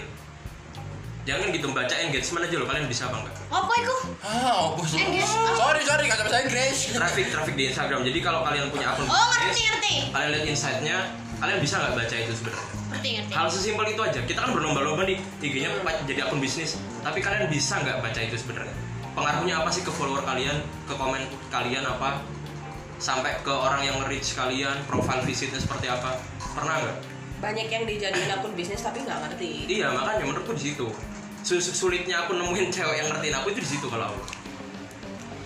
S3: Jangan gitu baca engagement aja loh kalian bisa apa enggak?
S2: apa itu
S1: Ah, apa sih?
S2: Inggris.
S1: Sorry, sorry, gak bisa Inggris.
S3: Traffic traffic di Instagram. Jadi kalau kalian punya
S2: oh
S3: akun bisnis,
S2: ngerti ngerti
S3: kalian lihat insight-nya, kalian bisa nggak baca itu sebenarnya?
S2: ngerti ngerti
S3: hal sesimpel itu aja kita kan berlomba-lomba di IG-nya jadi akun bisnis tapi kalian bisa nggak baca itu sebenarnya pengaruhnya apa sih ke follower kalian ke komen kalian apa sampai ke orang yang reach kalian profile visitnya seperti apa pernah nggak
S4: Banyak yang dijadiin akun bisnis tapi nggak ngerti.
S3: iya makanya menurutku di situ Sus- sulitnya aku nemuin cewek yang ngertiin aku itu di situ kalau aku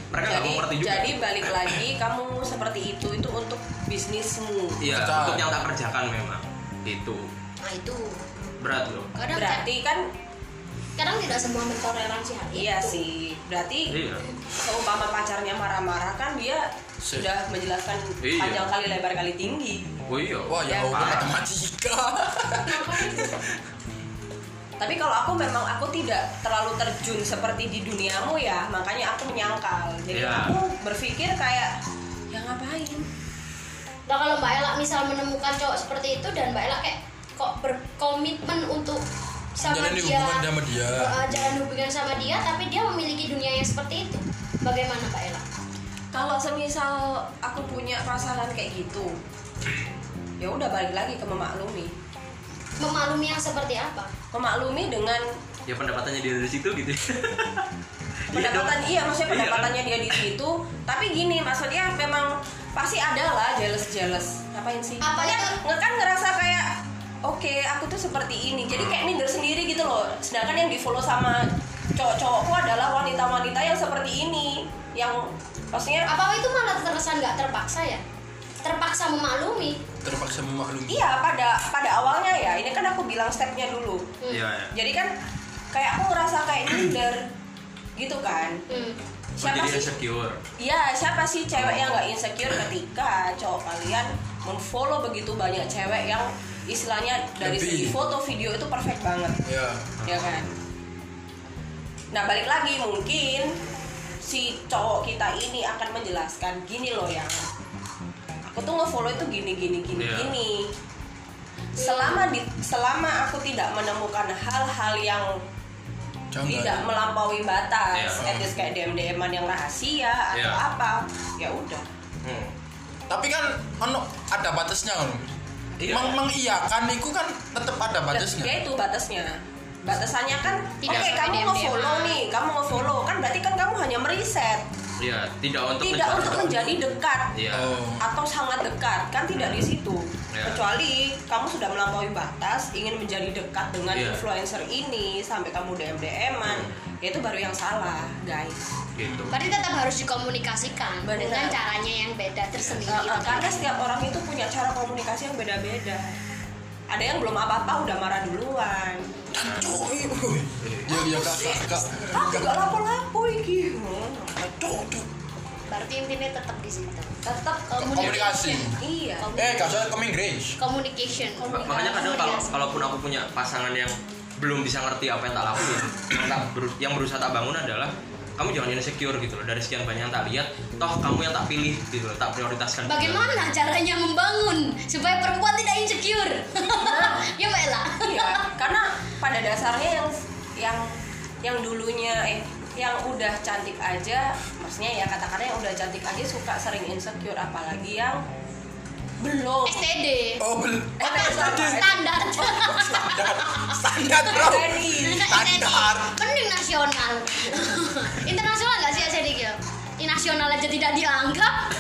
S3: mereka nggak
S4: Jadi,
S3: mau ngerti juga
S4: jadi balik lagi kamu seperti itu itu untuk bisnismu.
S3: iya
S1: Betul.
S3: untuk yang tak kerjakan memang itu
S2: nah itu
S3: berat loh
S2: kadang
S4: Berarti kan
S2: kadang tidak semua mentoleransi hal itu
S4: iya sih. Berarti
S3: iya
S4: seumpama pacarnya marah-marah kan dia
S1: Sih.
S4: sudah menjelaskan
S3: Iya.
S4: panjang kali lebar kali tinggi.
S3: oh iya
S1: Wah, ya
S4: Ya,
S1: Allah,
S3: parah.
S1: matematika.
S4: Tapi kalau aku memang aku tidak terlalu terjun seperti di duniamu ya, makanya aku menyangkal. Jadi
S3: Iya.
S4: aku berpikir kayak ya ngapain?
S2: Nah kalau Mbak Ella misal menemukan cowok seperti itu dan Mbak Ella kayak kok berkomitmen untuk sama
S1: Jadi
S2: dia,
S1: hubungan sama dia.
S2: eh, jalan hubungan sama dia, tapi dia memiliki dunia yang seperti itu. Bagaimana Mbak Ella?
S4: Kalau semisal aku punya perasaan kayak gitu, ya udah balik lagi ke memaklumi.
S2: Memaklumi yang seperti apa?
S4: Memaklumi dengan
S3: ya pendapatannya dia dari situ gitu Iya dong.
S4: pendapatan iya, maksudnya
S3: Iya kan?
S4: pendapatannya dia di situ. Tapi gini, maksudnya memang pasti ada lah jealous-jealous. Ngapain sih?
S2: Apa
S4: Maksudnya
S2: itu?
S4: nge- kan ngerasa kayak oke, aku tuh seperti ini. Jadi kayak minder sendiri gitu loh. Sedangkan yang di-follow sama cowok-cowokku adalah wanita-wanita yang seperti ini, yang maksudnya
S2: Apa itu malah terkesan nggak terpaksa ya? Terpaksa memaklumi.
S1: Terpaksa memaklumi.
S4: iya pada pada awalnya ya. Ini kan aku bilang stepnya dulu.
S2: Hmm.
S3: iya ya.
S4: jadi kan kayak aku ngerasa kayak minder gitu kan
S2: Hmm.
S4: siapa
S3: jadi
S4: sih
S3: insecure
S4: ya siapa sih cewek yang nggak insecure ketika cowok kalian menfollow begitu banyak cewek yang istilahnya dari
S1: Lebih.
S4: segi foto video itu perfect banget
S1: Ya.
S4: ya kan nah balik lagi mungkin si cowok kita ini akan menjelaskan gini loh yang aku tuh ngefollow itu gini gini gini
S3: Iya.
S4: gini selama di selama aku tidak menemukan hal-hal yang tidak
S1: Jangan.
S4: melampaui batas
S3: Iya.
S4: at least kayak dm dman yang rahasia atau
S3: Iya.
S4: apa ya udah
S3: Hmm.
S1: Tapi kan ono ada batasnya kan.
S3: Iya.
S1: Meng mengiyakan itu kan tetap ada
S4: ya
S1: batasnya.
S4: itu batasnya batasannya kan oke
S2: Tidak sampai
S4: kamu
S2: DM-an.
S4: ngefollow nih kamu ngefollow kan berarti kan kamu hanya meriset
S3: Iya, tidak untuk
S4: tidak
S3: mencoba.
S4: untuk menjadi dekat
S3: Iya.
S1: Oh.
S4: atau sangat dekat kan tidak di situ
S3: Iya.
S4: kecuali kamu sudah melampaui batas ingin menjadi dekat dengan
S3: Iya.
S4: influencer ini sampai kamu dm dman ya itu baru yang salah guys
S3: Gitu.
S4: Kan
S2: Berarti tetap harus dikomunikasikan
S4: Benar.
S2: dengan caranya yang beda tersendiri. gitu kan?
S4: Nah,
S2: itu.
S4: karena setiap orang itu punya cara komunikasi yang beda-beda. Ada yang belum apa-apa udah marah duluan.
S1: Cuk, iya, wuih. Ya ya kak kak kak.
S4: Aku gak lapo-lapo iki.
S1: Cuk, cuk.
S2: Berarti intinya tetap di situ.
S4: Tetap
S1: Komunikasi.
S4: Iya.
S1: Eh gak usah kamu Inggris.
S2: Communication.
S4: Komunikasi.
S3: Makanya kadang kalau kalaupun aku punya pasangan yang belum bisa ngerti apa yang tak lakuin, yang, tak beru- yang berusaha tak bangun adalah kamu jangan insecure gitu loh dari sekian banyak yang tak lihat, toh kamu yang tak pilih gitu loh, tak prioritaskan. gitu loh.
S2: Bagaimana caranya membangun supaya perempuan tidak insecure? ya Mbak Ella.
S4: Iya, karena pada dasarnya yang yang yang dulunya eh yang udah cantik aja, maksudnya ya katakannya yang udah cantik aja suka sering insecure apalagi yang belum.
S2: STD.
S1: Oh, bel.
S2: Eh,
S4: Apa STD?
S2: Standar.
S1: Standar. Standar, Bro.
S4: Jadi,
S1: Standar.
S2: Mending Kan nasional. Internasional nggak sih STD ya? Ini nasional aja tidak dianggap.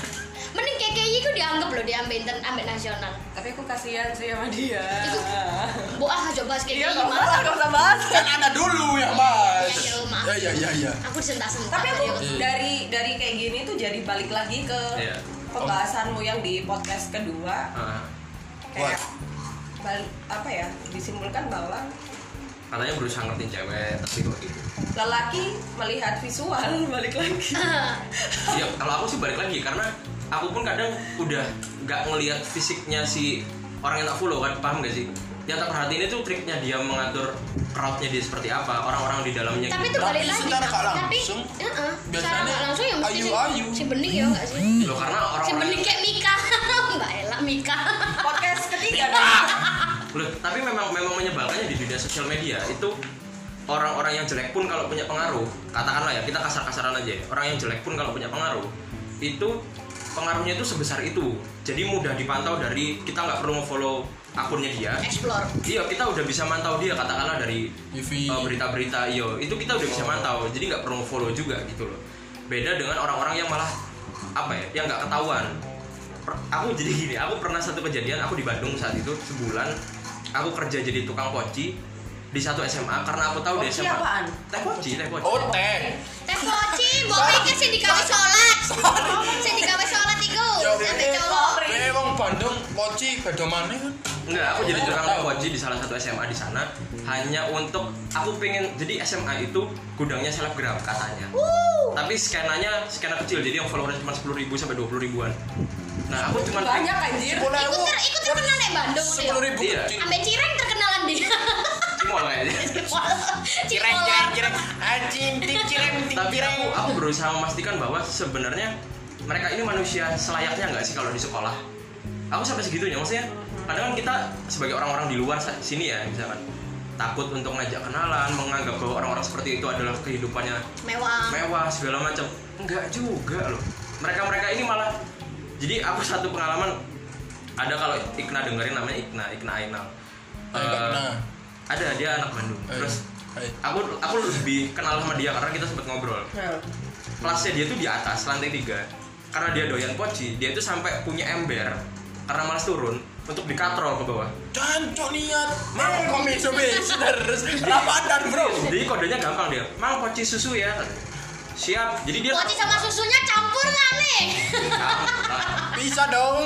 S2: Mending KKI itu dianggap loh diambil inter- ambil nasional.
S4: Tapi tapi aku kasihan sih sama dia
S2: Bu ah aja bahas kayak
S4: iya
S2: gini
S4: nggak
S2: mas.
S4: usah nggak usah bahas
S1: kan ada dulu yang bahas
S2: Ya, ya, maaf.
S1: ya ya ya ya
S2: Aku disentak-sentak.
S4: tapi aku
S2: dari-
S1: Iya.
S4: dari dari kayak gini tuh jadi balik lagi ke
S3: Iya.
S4: pembahasanmu yang di podcast kedua
S3: Ah,
S1: What?
S4: kayak balik apa ya disimpulkan bahwa
S3: katanya berusaha ngertiin cewek tapi kok gitu
S4: lelaki melihat visual balik lagi
S3: ya kalau aku sih balik lagi karena aku pun kadang udah nggak ngelihat fisiknya si orang yang tak follow kan paham gak sih yang tak perhatiin itu triknya dia mengatur crowdnya dia seperti apa orang-orang di dalamnya
S2: tapi itu
S3: gitu.
S2: balik
S1: Tapi
S2: lagi
S1: secara nggak
S2: Mas. tapi
S1: langsung,
S2: uh-uh, secara
S1: biasanya
S2: nggak langsung ya mesti si,
S1: ayu-ayu.
S2: si bening ya nggak sih
S3: gitu. loh karena
S2: si ya?
S3: orang-orang
S2: bening kayak Mika mbak Ella Mika
S4: podcast ketiga dong.
S3: Ah! Loh, tapi memang memang menyebalkannya di dunia sosial media itu orang-orang yang jelek pun kalau punya pengaruh, katakanlah ya kita kasar-kasaran aja. ya, Orang yang jelek pun kalau punya pengaruh, itu pengaruhnya itu sebesar itu. Jadi mudah dipantau dari kita nggak perlu follow akunnya dia.
S2: explore
S3: Iya, kita udah bisa mantau dia katakanlah dari
S1: Yivi.
S3: uh, berita-berita iyo itu kita udah bisa mantau jadi nggak perlu follow juga gitu loh beda dengan orang-orang yang malah apa ya yang nggak ketahuan Per- aku jadi gini aku pernah satu kejadian aku di Bandung saat itu sebulan aku kerja jadi tukang poci di satu SMA karena aku tahu di
S4: Poci
S3: SMA
S4: apaan?
S3: teh poci teh poci
S1: oh teh
S2: teh poci mbok pikir sih digawe sholat sih digawe sholat iku
S1: Oh,
S2: sampai colok
S1: Ya, Eh, wong Bandung poci beda mana kan?
S3: Enggak, aku jadi
S1: Oh,
S3: tukang
S1: tahu.
S3: poci di salah satu SMA di sana hanya untuk aku pengen jadi SMA itu gudangnya selebgram katanya. Tapi skenanya skena kecil jadi yang followersnya cuma 10.000 sampai 20 ribuan. Nah, aku cuma
S4: banyak anjir
S1: Sepuluh
S2: ikut ter ikut terkenal nih Bandung nih
S1: sepuluh ribu
S3: Iya.
S1: kecil.
S2: ambil cireng terkenalan dia
S3: cimol kayaknya.
S2: cireng
S1: cireng, anjing, tim cireng, tim
S3: Tapi aku aku berusaha memastikan bahwa sebenarnya mereka ini manusia selayaknya nggak sih kalau di sekolah. Aku sampai segitunya maksudnya. Kadang kan kita sebagai orang-orang di luar sa- sini ya misalkan takut untuk ngajak kenalan, menganggap bahwa orang-orang seperti itu adalah kehidupannya
S2: mewah
S3: mewah segala macam enggak juga loh mereka mereka ini malah jadi aku satu pengalaman ada kalau Ikna dengerin namanya Ikna Ikna Ainal
S1: Eh, Mbak
S3: Eh,
S1: Ikna.
S3: ada dia anak Bandung
S1: Eh,
S3: terus
S1: eh.
S3: aku aku lebih kenal sama dia karena kita sempat ngobrol
S4: Nah,
S3: kelasnya dia tuh di atas lantai tiga karena dia doyan poci dia tuh sampai punya ember karena malas turun untuk dikatrol ke bawah
S1: Dan cok niat, mang
S3: Eh.
S1: komik terus Ramadan bro.
S3: jadi kodenya gampang dia mang poci susu ya siap jadi dia
S2: poci sama susunya campur kali
S3: Gampang.
S1: Bisa dong,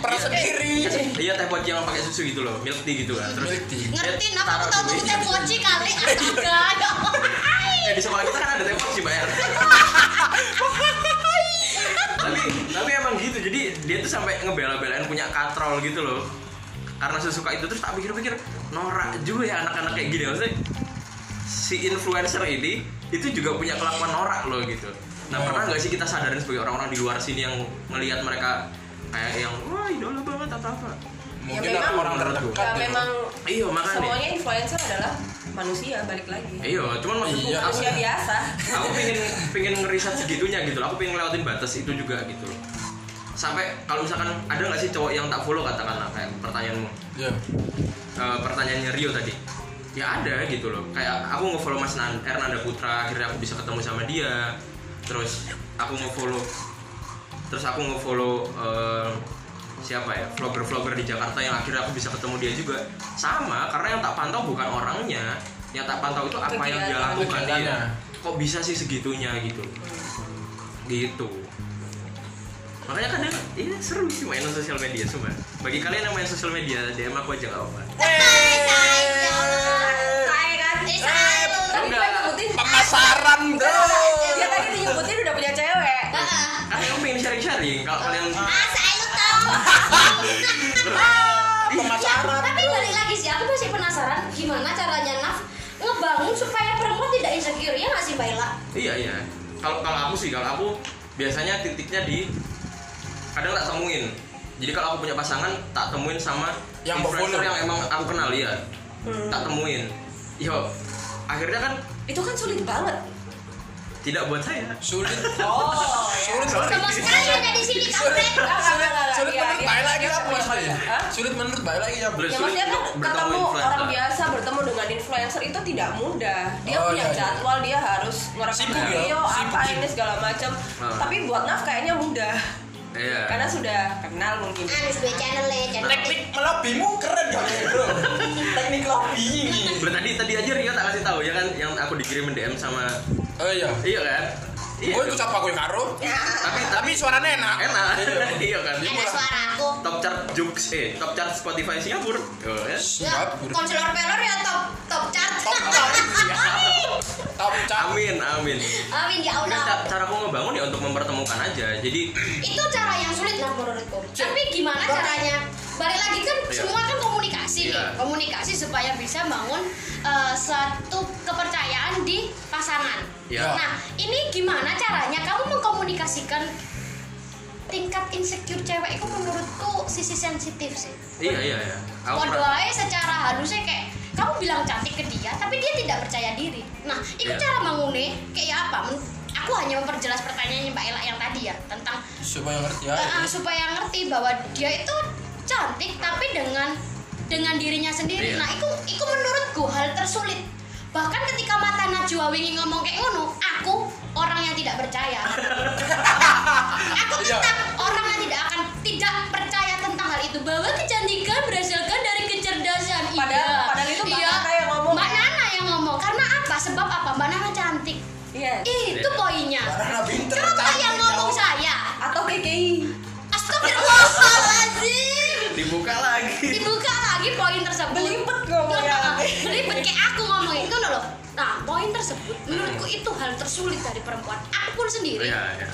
S1: per sendiri.
S3: Iya teh poci yang pakai susu gitu loh, milk tea gitu kan. Terus
S1: Milk tea.
S2: ngerti
S3: dia
S2: napa aku
S3: taruh
S2: tahu
S3: di
S2: tuh
S3: meja.
S2: teh poci kali astaga ya Allah.
S3: Eh, di sekolah kita kan ada teh poci bayar. tapi tapi emang gitu. Jadi dia tuh sampai ngebela-belain punya katrol gitu loh. Karena sesuka itu terus tak pikir-pikir norak juga ya anak-anak kayak gini maksudnya. Si influencer ini itu juga punya kelakuan norak loh gitu. Nah,
S2: Oh.
S3: pernah nggak sih kita sadarin sebagai orang-orang di luar sini yang ngelihat mereka kayak yang wah idola banget atau apa?
S1: Mungkin
S4: memang-
S1: aku orang terdekat.
S4: ya
S1: ya.
S4: memang
S3: Iya, makanya.
S4: semuanya influencer adalah manusia balik lagi
S3: Iya, cuman maksudku
S1: Iya.
S3: aku,
S4: manusia biasa
S3: aku pengen pengen ngeriset segitunya gitu loh. Aku pengen lewatin batas itu juga gitu loh. Sampai kalau misalkan ada nggak sih cowok yang tak follow katakanlah kayak pertanyaanmu,
S1: Iya.
S3: eh, pertanyaannya Rio tadi. Ya ada gitu loh. Kayak aku ngefollow Mas Nan, Hernanda Putra, akhirnya aku bisa ketemu sama dia. Terus aku ngefollow terus aku ngefollow eh, siapa ya vlogger-vlogger di Jakarta yang akhirnya aku bisa ketemu dia juga sama karena yang tak pantau bukan orangnya yang tak pantau itu apa yang dia
S4: Kegiatan.
S3: lakukan
S1: Kegiatannya.
S3: dia kok bisa sih segitunya gitu gitu makanya kadang ini seru sih mainan sosial media semua bagi kalian yang main sosial media DM aku aja nggak apa
S4: saya kan
S2: Eh, selalu.
S4: tadi dia nyebutin
S1: Pemasaran
S4: Iya,
S1: bro.
S4: dia tadi nyebutin udah punya cewek
S2: Heeh.
S3: karena aku pengen sharing-sharing kalau kalian
S2: Ah, saya tahu.
S1: Pemasaran.
S2: tapi balik lagi sih, aku masih penasaran gimana caranya Naf ngebangun supaya perempuan tidak insecure ya nggak sih Mbak Ella?
S3: Iya iya. Kalau kalau aku sih kalau aku biasanya titiknya di kadang tak temuin. Jadi kalau aku punya pasangan tak temuin sama
S1: Yang
S3: influencer
S1: follow.
S3: yang emang aku kenal ya. Tak temuin. Yo, akhirnya kan
S4: Hmm. itu kan sulit banget
S3: tidak buat saya.
S1: Sulit.
S4: oh
S1: Sulit.
S2: Sama sekali ada di sini Ah, kafe.
S1: Sulit. Sulit
S4: Iya,
S1: menurut baik lagi apa maksudnya?
S4: Hah?
S1: Sulit menurut baik lagi ya bro.
S3: Terus
S4: Ya
S3: sulit
S4: maksudnya kan
S3: untuk bertemu
S4: ketemu orang
S3: influencer.
S4: biasa bertemu dengan influencer itu tidak mudah. Dia
S1: Oh,
S4: punya
S1: iya, iya.
S4: jadwal, dia harus ngerekam
S1: Sibuk ya,
S4: video,
S1: sibuk,
S4: apa
S1: sibuk.
S4: ini segala macam.
S3: Ah.
S4: Tapi buat Naf kayaknya mudah.
S3: Eh, Iya.
S4: karena sudah kenal mungkin
S2: Anis gue channel ya, channel.
S1: Teknik melabimu keren kali ini bro. Teknik lobbying ini.
S3: Loh, tadi tadi aja Rio tak kasih tahu ya kan yang aku dikirimin DM sama
S1: Oh iya.
S3: iya kan? Iya.
S1: Oh itu siapa gue karo?
S3: tapi tapi
S1: Tapi suaranya enak.
S3: enak. iya kan?
S2: Ada suara aku.
S3: Top chart Jux eh top chart Spotify Singapura. Oh,
S2: Ya,
S3: ya.
S1: Singapura.
S2: konselor pelor ya top top chart.
S1: Top chart. Top chart.
S3: Amin amin.
S2: Amin ya
S3: Nah,
S2: Allah.
S3: ca- cara aku ngebangun ya untuk mempertemukan aja. Jadi
S2: Itu cara yang sulit lah menurutku.
S1: Cuk.
S2: Tapi gimana
S1: Bahkan-
S2: caranya? Balik lagi kan
S3: Iya.
S2: semua kan komunikasi nih.
S3: Iya.
S2: Komunikasi supaya bisa bangun eh, satu kepercayaan di pasangan.
S3: ya
S2: Nah, ini gimana caranya kamu mengkomunikasikan tingkat insecure cewek itu menurutku sisi sensitif sih.
S3: iya iya iya. Aku
S2: Waduh
S3: pernah-
S2: aja secara halusnya kayak kamu bilang cantik ke dia, tapi dia tidak percaya diri. Nah, itu
S3: Iya.
S2: cara mangune kayak apa? Men- Aku hanya memperjelas pertanyaannya Mbak Ela yang tadi ya tentang
S1: Supaya ngerti ya.
S3: Iya.
S2: eh, supaya ngerti bahwa dia itu cantik tapi dengan dengan dirinya sendiri.
S3: Iya.
S2: Nah, itu itu menurutku hal tersulit. Bahkan ketika mata Najwa Wingi ngomong kayak ngono, aku orang yang tidak percaya. aku
S1: Iya.
S2: tetap orang yang tidak akan tidak percaya tentang hal itu bahwa kecantikan berasalkan dari kecerdasan. Iya.
S4: Padahal- padahal itu Mbak Nana yang ngomong.
S2: Mbak Nana yang ngomong. Karena apa? Sebab apa? Mbak Nana cantik.
S4: Yes.
S2: Itu
S3: Iya.
S2: poinnya.
S1: Karena pinter.
S2: Kenapa
S1: cantik,
S2: yang
S3: ya
S2: ngomong
S1: jauh.
S2: saya?
S4: atau KKI
S2: Astagfirullahaladzim
S3: dibuka lagi.
S2: Dibuka lagi poin tersebut
S4: Belibet ngomongnya.
S2: Nah, Belibet kayak aku ngomongin Itu loh Nah poin tersebut menurutku itu hal tersulit dari perempuan Aku pun sendiri
S3: Iya iya.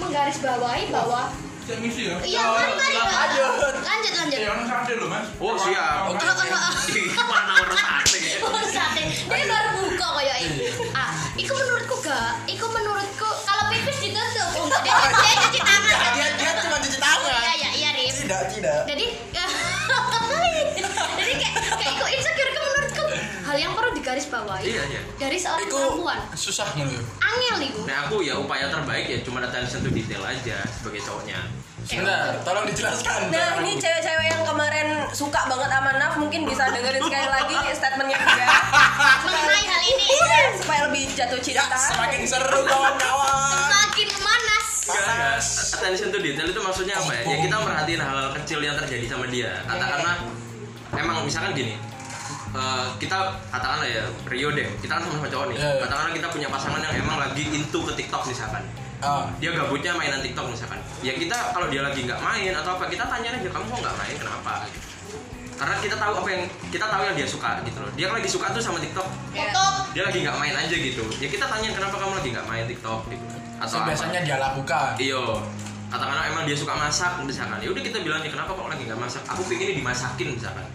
S2: menggarisbawahi bahwa
S5: Saya misi ya.
S2: Iya mari mari
S1: silakan.
S2: Mbak.
S1: Lanjut.
S2: Lanjut lanjut
S5: Ya, orang sama dulu, Mas.
S3: Oh siap.
S1: Oke.
S2: Oh, oh, oh, oh.
S3: Ih, Mana orang sate.
S2: Bang sate. Dia baru buka kayak ini. Ah, iku menurutku gak. Iku menurutku kalau pipis ditutup. Enggak, dia, dia cuci tangan.
S1: Nggak, Iya, Dia dia cuma cuci tangan.
S2: Iya iya iya, Rif.
S1: Tidak tidak.
S2: jadi ya, jadi kayak kayak ikut insecure itu menurutku hal yang perlu digarisbawahi
S3: Iya, iya.
S2: dari seorang
S1: Iku
S2: perempuan
S1: susah ya. menurut.
S2: angel itu
S3: Nah aku ya upaya terbaik ya cuma attention to detail aja sebagai cowoknya.
S1: Sebentar, tolong dijelaskan.
S4: Nah ini cewek-cewek yang kemarin suka banget sama Naf mungkin bisa dengerin sekali lagi statementnya dia Iya,
S2: mengenai hal ini
S4: supaya lebih jatuh
S1: Ya,
S4: cinta.
S1: semakin seru kawan-kawan.
S2: semakin panas
S3: Enggak, Attention to detail itu maksudnya apa ya? Ya kita merhatiin hal-hal kecil yang terjadi sama dia. Katakanlah emang misalkan gini. eh, kita katakanlah ya Rio deh, kita kan sama-sama cowok nih.
S1: Iya, iya.
S3: Katakanlah kita punya pasangan yang emang lagi into ke TikTok misalkan.
S1: Ah,
S3: Dia gabutnya mainan TikTok misalkan. Ya kita kalau dia lagi nggak main atau apa, kita tanya aja kamu kok nggak main kenapa? Gitu. Karena kita tahu apa yang kita tahu yang dia suka gitu loh. Dia lagi suka tuh sama TikTok.
S2: tutup
S3: Dia lagi nggak main aja gitu. Ya kita tanya kenapa kamu lagi nggak main TikTok gitu.
S1: so,
S3: Atau apa?
S1: biasanya dia lakukan.
S3: Iyo, katakanlah emang dia suka masak misalkan. Ya udah kita bilang ya kenapa kok lagi nggak masak? Aku pingin ini dimasakin misalkan.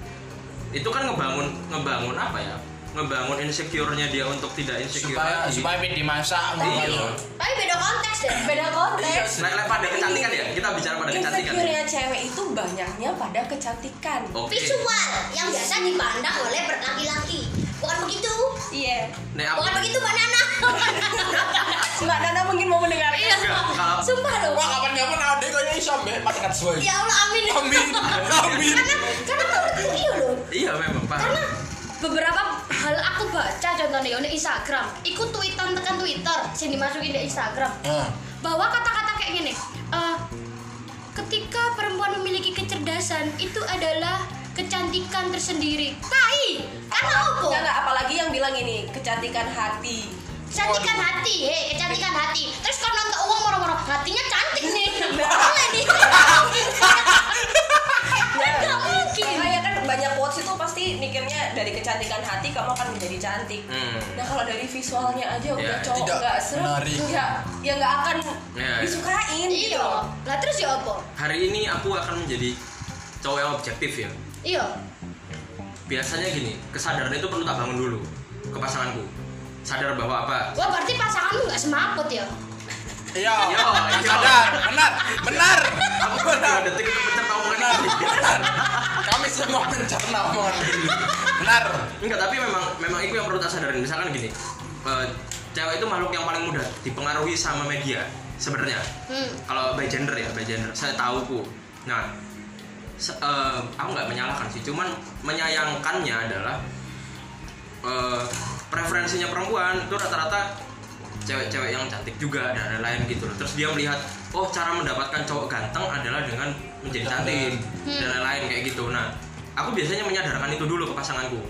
S3: Itu kan ngebangun ngebangun apa ya? Ngebangun insecure-nya dia untuk tidak insecure.
S1: Supaya
S3: lagi.
S1: supaya pit dimasak
S4: Tapi,
S1: gitu.
S2: tapi beda konteks deh
S4: beda konteks.
S3: Nah, nah, pada kecantikan ya. Kita bicara pada kecantikan.
S4: Insecure-nya cewek itu banyaknya pada kecantikan.
S3: Oke.
S2: visual yang biasa dipandang oleh per- laki-laki bukan begitu
S4: Iya.
S3: Nah, aku
S2: bukan begitu mbak Nana
S4: Mbak Nana mungkin mau
S2: iya
S4: mendengarkan.
S2: sumpah sumpah dong
S1: Wah, kapan-kapan ada kayaknya iso mbek paket suwe.
S2: ya Allah amin
S1: Amin. Amin.
S2: karena karena menurutku iya loh
S3: Iya memang paham.
S2: karena beberapa hal aku baca contohnya di Instagram ikut tweetan tekan Twitter sini dimasukin di Instagram
S1: Nah,
S2: bahwa kata-kata kayak gini eh, ketika perempuan memiliki kecerdasan itu adalah kecantikan tersendiri tai karena opo
S4: Enggak, enggak, apalagi yang bilang ini kecantikan hati.
S2: kecantikan hati he kecantikan hati terus kalau nonton uang moro-moro hatinya cantik nih boleh nih kan nggak mungkin
S4: Makanya kan banyak quotes itu pasti mikirnya dari kecantikan hati kamu akan menjadi cantik.
S3: Hmm.
S4: Nah kalau dari visualnya aja udah
S3: Ya,
S4: cowok
S1: tidak
S4: nggak seru,
S1: menarik.
S4: ya ya nggak akan
S3: Ya, ya.
S4: disukain gitu.
S2: iya
S4: loh.
S2: lah terus ya opo
S3: Hari ini aku akan menjadi cowok yang objektif ya.
S2: iya
S3: Biasanya gini, kesadaran itu perlu tak bangun dulu ke pasanganku. Sadar bahwa apa?
S2: Wah berarti pasanganmu nggak semaput ya?
S1: iya.
S3: Iya, iya.
S1: Sadar, benar, benar.
S3: Aku pada detik itu mencerna omongan ini.
S1: Kami semua mencerna omongan ini. Benar.
S3: Enggak, tapi memang memang itu yang perlu tak sadarin. Misalkan gini, eh, cewek itu makhluk yang paling mudah dipengaruhi sama media sebenarnya.
S2: Hmm.
S3: Kalau by gender ya, by gender. Saya tahu ku. Nah, se- eh, aku nggak menyalahkan sih, cuman menyayangkannya adalah eh, preferensinya perempuan itu rata-rata cewek-cewek yang cantik juga dan lain-lain gitu loh terus dia melihat oh cara mendapatkan cowok ganteng adalah dengan menjadi cantik dan lain-lain kayak gitu nah aku biasanya menyadarkan itu dulu ke pasanganku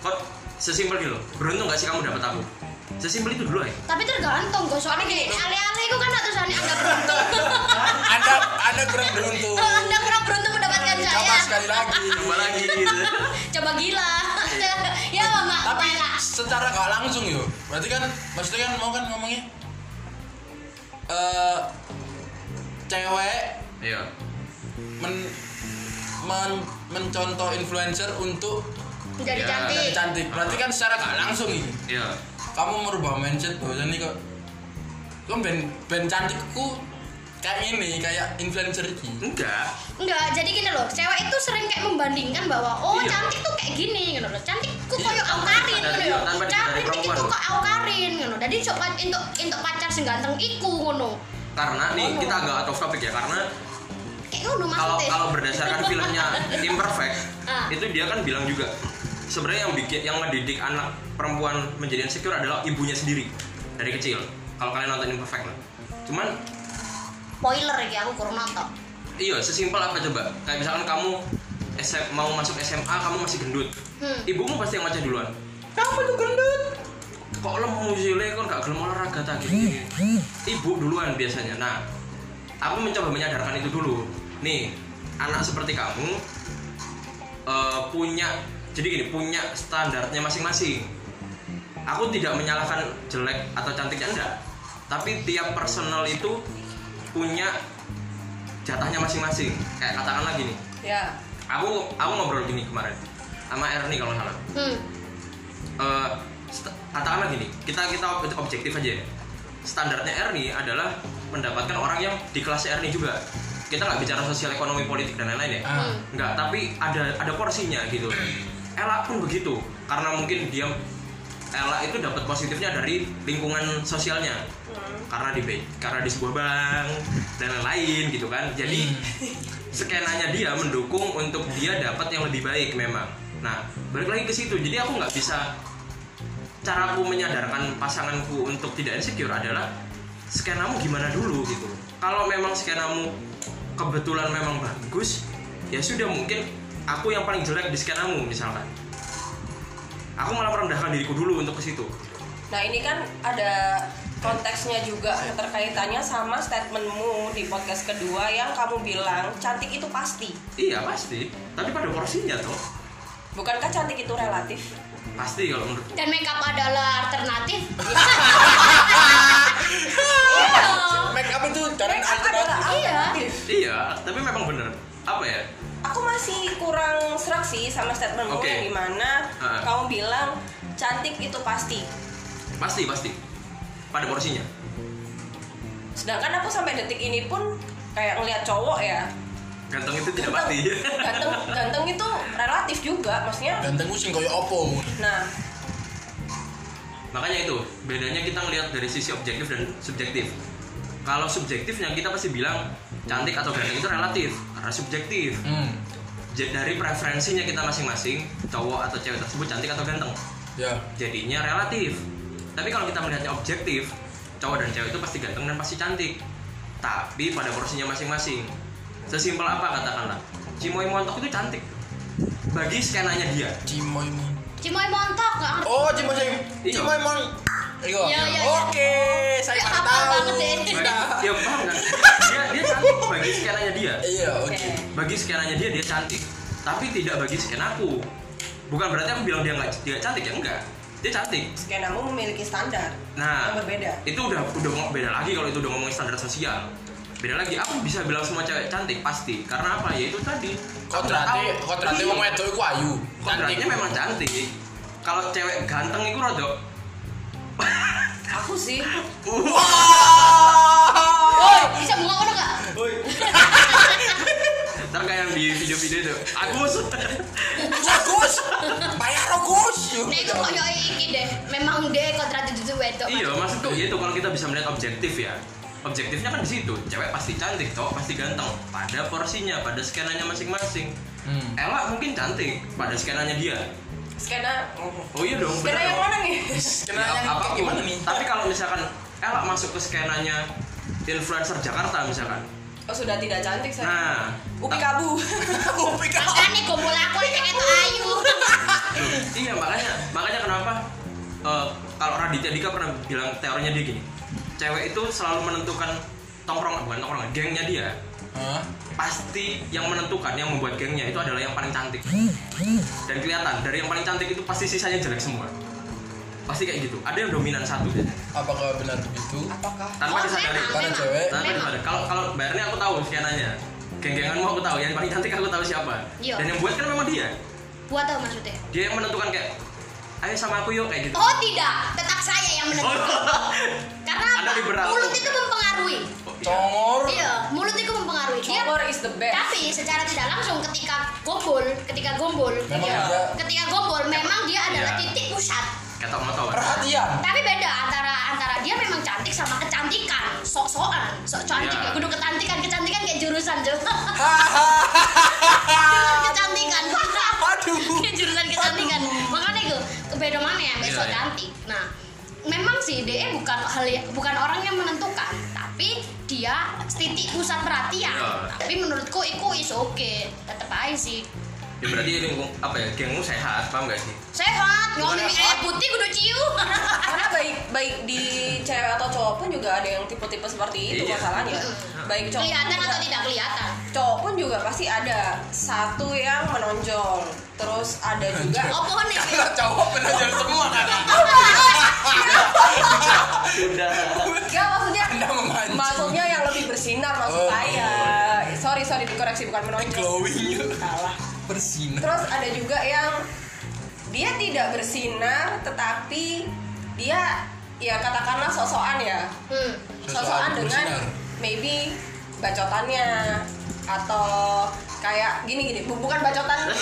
S3: kok sesimpel gitu loh beruntung gak sih kamu dapat aku sesimpel itu dulu ya
S2: Tapi tergantung kok soalnya kayak alih-alih kok kan nggak terus aneh anda beruntung.
S1: Anda Anda kurang beruntung.
S2: anda kurang beruntung mendapatkan saya.
S1: Coba sekali lagi.
S3: coba lagi gitu
S2: Coba gila. ya mama.
S1: Tapi
S2: Tapi
S1: secara nggak langsung yuk. Berarti kan maksudnya kan mau kan ngomongnya eh cewek
S3: iya
S1: men, men- mencontoh influencer untuk
S2: menjadi
S1: jadi
S3: Ya,
S2: cantik.
S1: cantik. Berarti kan secara nggak langsung ini.
S3: iya
S1: Kamu merubah mindset bahwasannya kok kok ben ben cantikku kayak ini kayak influencer ini.
S3: enggak
S2: Enggak, jadi gini loh, cewek itu sering kayak membandingkan bahwa oh
S3: Iya.
S2: cantik tuh kayak gini gitu loh. Cantik ku
S3: Iya,
S2: koyo
S3: tanpa
S2: Aukarin
S3: disadari,
S2: gitu loh.
S3: tanpa disadari
S2: Cantik iki
S3: perempuan
S2: ku
S3: loh.
S2: kok Aukarin gitu. Jadi sok pa- entuk entuk pacar sing ganteng iku ngono.
S3: karena nih kita agak out of topic ya karena
S2: Kayak ngono
S3: kalau
S2: maksudnya.
S3: kalau berdasarkan filmnya Imperfect
S2: Ah.
S3: itu dia kan bilang juga sebenarnya yang bikin yang mendidik anak perempuan menjadi insecure adalah ibunya sendiri dari kecil kalau kalian nonton Imperfect lah cuman
S2: spoiler ya aku kurang nonton.
S3: iya sesimpel apa coba kayak misalkan kamu SM mau masuk SMA kamu masih gendut
S2: Hmm.
S3: ibumu pasti yang ngoceh duluan kamu tuh gendut kok lemu sih le kan gak gelem olahraga ta gitu ibu duluan biasanya nah aku mencoba menyadarkan itu dulu nih anak seperti kamu eh, punya jadi gini punya standarnya masing-masing aku tidak menyalahkan jelek atau cantiknya enggak tapi tiap personal itu punya jatahnya masing-masing kayak katakanlah gini
S4: ya
S3: aku aku ngobrol gini kemarin sama Erni kalau nggak salah
S2: Hmm.
S3: Eh, st- katakanlah gini kita kita ob- objektif aja ya standarnya Erni adalah mendapatkan orang yang di kelas Erni juga kita nggak bicara sosial ekonomi politik dan lain-lain ya
S2: Hmm.
S1: Ah.
S3: nggak tapi ada ada porsinya gitu Ella pun begitu karena mungkin dia Ella itu dapat positifnya dari lingkungan sosialnya karena di be- karena di sebuah bank dan lain-lain gitu kan jadi
S2: Hmm.
S1: Hmm.
S3: skenanya dia mendukung untuk dia dapat yang lebih baik memang nah balik lagi ke situ jadi aku nggak bisa caraku menyadarkan pasanganku untuk tidak insecure adalah skenamu gimana dulu gitu kalau memang skenamu kebetulan memang bagus ya sudah mungkin aku yang paling jelek di skenamu misalkan aku malah merendahkan diriku dulu untuk ke situ
S4: Nah ini kan ada konteksnya juga
S1: Iya.
S4: keterkaitannya sama statementmu di podcast kedua yang kamu bilang cantik itu pasti.
S3: iya pasti tapi pada porsinya toh
S4: Bukankah cantik itu relatif?
S3: pasti kalau menurut
S2: Dan makeup adalah alternatif.
S1: Make up itu jalan
S4: Make up adalah
S1: alternatif.
S2: Iya.
S4: alternatif.
S3: iya tapi memang bener apa ya
S4: Aku masih kurang serak sih sama statementmu
S3: Oke.
S4: yang dimana
S3: Ha.
S4: kamu bilang cantik itu pasti.
S3: pasti pasti pada porsinya
S4: Sedangkan aku sampai detik ini pun kayak ngelihat cowok ya
S3: ganteng itu tidak pasti
S4: ganteng, ganteng, ganteng itu relatif juga maksudnya.
S1: Gantengku sing koyo opo.
S4: Nah
S3: Makanya itu bedanya kita ngelihat dari sisi objektif dan subjektif. Kalau subjektifnya kita pasti bilang cantik atau ganteng itu relatif karena subjektif.
S1: Hmm.
S3: Jadi dari preferensinya kita masing-masing cowok atau cewek tersebut cantik atau ganteng.
S1: Ya.
S3: Jadinya relatif. Tapi kalau kita melihatnya objektif, cowok dan cewek itu pasti ganteng dan pasti cantik. Tapi pada porsinya masing-masing. Sesimpel apa katakanlah, Cimoy Montok itu cantik. Bagi skenanya dia.
S1: Cimoy Mon.
S2: Cimoy montok nggak ngerti.
S1: Oh, Cimoy Cimoy.
S3: Iya.
S1: Cimoy Mon. Iya.
S2: Iya, iya,
S1: Oke, saya
S2: Iya,
S1: baru
S2: hafal
S1: tahu. Iya.
S2: banget sih.
S3: Bagi, dia banget. Dia, dia cantik bagi skenanya dia.
S1: Iya,
S4: oke.
S1: oke.
S3: bagi skenanya dia dia cantik tapi tidak bagi sken aku bukan berarti aku bilang dia nggak dia cantik ya enggak dia cantik
S4: skenamu memiliki standar
S3: nah
S4: yang berbeda.
S3: itu udah udah ngomong beda lagi kalau itu udah ngomongin standar sosial beda lagi aku bisa bilang semua cewek cantik pasti karena apa ya itu tadi
S1: Kodrate,
S3: Aku-
S1: kodrate wong wedok iku ayu.
S3: kodratnya Iya. memang cantik kalau cewek ganteng itu rada
S4: Aku sih
S3: Oh.
S2: Woi, Oh, bisa bengok ngono nggak?
S3: ntar kayak yang di video-video itu aku
S1: Gus, Gus. Bayar lo, Gus.
S2: Nah itu koyo iki deh. Memang deh kontrak itu wedok.
S3: iya maksudku
S1: gitu.
S3: ya itu kalau kita bisa melihat objektif ya objektifnya kan di situ cewek pasti cantik cowok pasti ganteng pada porsinya pada skenanya masing-masing
S1: Hmm.
S3: Ella mungkin cantik pada skenanya dia
S4: skena
S3: Oh iya dong.
S4: skena
S3: bener
S4: yang
S3: dong.
S4: mana nih
S1: Skena
S3: Ya,
S1: yang kayak
S3: apapun.
S1: gimana nih?
S3: Tapi kalau misalkan Ella masuk ke skenanya influencer Jakarta misalkan.
S4: oh sudah tidak cantik saya
S3: Nah,
S4: upi kabu
S1: Upi kau.
S2: Makanya gombol aku aja kayak ayu.
S3: iya makanya makanya kenapa eh, kalau Raditya Dika pernah bilang teorinya dia gini. Cewek itu selalu menentukan tongkrong bukan tongkrongan, gengnya dia
S1: Hah?
S3: pasti yang menentukan yang membuat gengnya itu adalah yang paling cantik dan kelihatan dari yang paling cantik itu pasti sisanya jelek semua pasti kayak gitu ada yang dominan satu
S1: Apakah benar begitu?
S4: apakah
S3: tanpa
S2: Oh,
S3: disadari
S2: memang,
S1: Karena
S2: memang.
S1: cewek.
S3: Tanpa
S2: Memang.
S3: disadari. kalau kalau Mbak Erni aku tahu skenanya geng-genganmu aku tahu yang paling cantik aku tahu siapa
S2: Iya.
S3: dan yang buat kan memang dia
S2: Buat apa maksudnya?
S3: dia yang menentukan kayak ayo sama aku yuk kayak gitu
S2: Oh tidak, tetap saya yang menentukan. Karena
S3: Oh. Anda
S2: apa?
S3: liberal.
S2: mulut itu mempengaruhi.
S3: Oh, iya.
S1: Congor.
S2: Iya, mulut itu mempengaruhi. Dia
S4: Congor is the best
S2: tapi secara tidak langsung ketika gombol, ketika gombol,
S1: Memang
S2: iya.
S1: dia-
S2: ketika gombol memang dia adalah
S3: Iya.
S2: titik pusat.
S3: ketok motor
S1: Perhatian.
S2: Tapi beda antara antara dia memang cantik sama kecantikan, sok-sokan, sok cantik
S3: Iya.
S2: ya kudu kecantikan, kecantikan kayak jurusan Jo.
S1: Hahaha.
S2: jurusan kecantikan.
S1: Aduh.
S2: Kayak jurusan kecantikan. Makanya itu kebeda mana ya,
S3: Iya,
S2: besok
S3: iya.
S2: cantik. Nah, memang sih DE bukan hal yang- bukan orang yang menentukan, tapi dia titik pusat perhatian.
S3: Iya.
S2: Tapi menurutku itu is oke, tetap aja sih.
S3: ya berarti lingkung apa ya gengmu sehat paham gak sih
S2: Sehat, ngomong
S3: Iya,
S1: Gimana,
S2: air putih kudu ciu.
S4: karena baik baik di cewek atau cowok pun juga ada yang tipe-tipe seperti itu
S3: Iya.
S4: masalahnya baik cowok
S2: kelihatan Iya, atau tidak kelihatan?
S4: cowok pun juga pasti ada satu yang menonjol terus ada juga Oh,
S2: Apa nih?
S1: Karena cowok menonjol semua kan.
S3: udah
S4: Enggak maksudnya
S1: Anda memancing.
S4: maksudnya yang lebih bersinar maksud
S1: Oh.
S4: saya sorry sorry dikoreksi bukan menonjol
S1: Glowing.
S4: salah
S1: Bersinar.
S4: terus ada juga yang dia tidak bersinar tetapi dia ya katakanlah sosokan ya
S2: Hmm.
S1: Sosokan
S4: sosokan dengan
S1: bersinar.
S4: maybe bacotannya atau kayak gini gini Bu- bukan bacotan
S2: Aku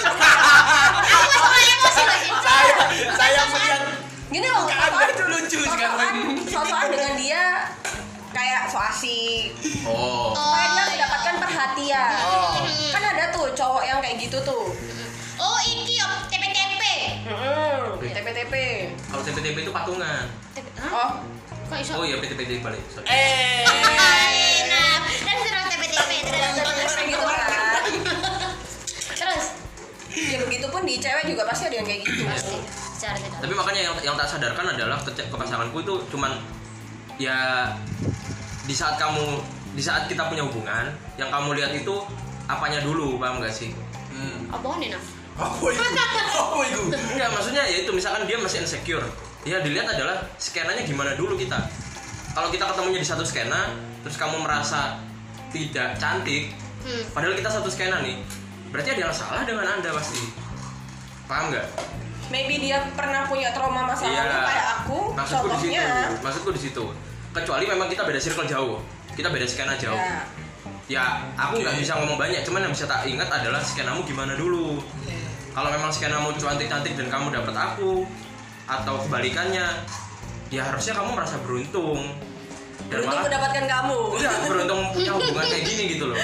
S2: masih mulai emosi lagi.
S1: Saya saya melihat
S4: gini loh
S1: Muka
S4: sosokan-
S1: Anda itu lucu sekarang.
S4: sosokan sosokan dengan dia kayak so asik
S3: oh
S2: Oh,
S4: supaya dia mendapatkan perhatian
S1: Oh.
S4: kan ada tuh cowok yang kayak gitu tuh
S2: Oh, iki yo TPTP.
S1: Hmm.
S4: Mm-mm, TPTP
S3: kalau TPTP itu patungan
S4: oh
S2: Kok iso?
S3: oh iya PTPT balik sorry.
S1: Eh.
S2: Hai, nah. Dan terus TPTP terus.
S4: TPTP gitu kan
S2: Terus
S4: ya begitu pun di cewek juga pasti ada yang kayak gitu
S1: Iya.
S2: pasti secara gitu. tidak.
S3: tapi makanya yang yang tak sadarkan adalah ke, ke pasanganku itu cuman ya di saat kamu di saat kita punya hubungan yang kamu lihat itu apanya dulu paham gak sih
S1: Hmm.
S2: Apa nih nah?
S1: Apa itu? Apa itu?
S3: enggak maksudnya ya itu misalkan dia masih insecure ya dilihat adalah skenanya gimana dulu kita kalau kita ketemunya di satu skena terus kamu merasa tidak cantik
S2: Hmm.
S3: padahal kita satu skena nih berarti ada yang salah dengan anda pasti paham nggak
S4: maybe dia pernah punya trauma masa
S3: Iya.
S4: lalu kayak aku
S3: maksudku di situ
S4: contohnya
S3: maksudku di situ kecuali memang kita beda circle jauh kita beda skena jauh
S4: ya
S3: ya aku nggak
S1: Oke.
S3: bisa ngomong banyak cuman yang bisa tak ingat adalah skenamu gimana dulu
S4: Iya.
S3: kalau memang skenamu cantik cantik dan kamu dapat aku atau kebalikannya ya harusnya kamu merasa beruntung dan
S4: beruntung
S3: malah
S4: mendapatkan kamu
S3: Iya, beruntung punya hubungan kayak gini gitu loh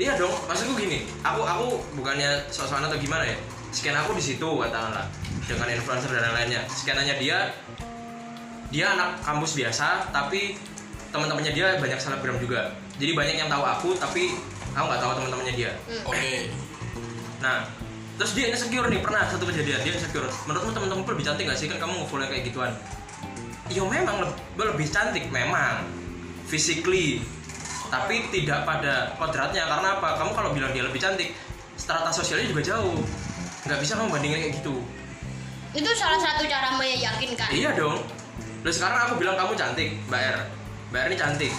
S3: iya dong maksudku gini aku aku bukannya sosokan atau gimana ya skena aku di situ katakanlah dengan influencer dan lain-lainnya skenanya dia dia anak kampus biasa tapi teman-temannya dia banyak selebgram juga jadi banyak yang tahu aku tapi aku nggak tahu teman-temannya dia
S1: Oke.
S3: nah terus dia insecure nih pernah satu kejadian dia insecure menurutmu teman-temanku lebih cantik gak sih kan kamu ngefollow kayak gituan Yo memang leb- gue lebih cantik memang physically tapi tidak pada kodratnya karena apa kamu kalau bilang dia lebih cantik strata sosialnya juga jauh nggak bisa kamu bandingin kayak gitu
S2: Itu salah satu cara meyakinkan.
S3: iya dong lu sekarang aku bilang kamu cantik mbak R mbak R ini cantik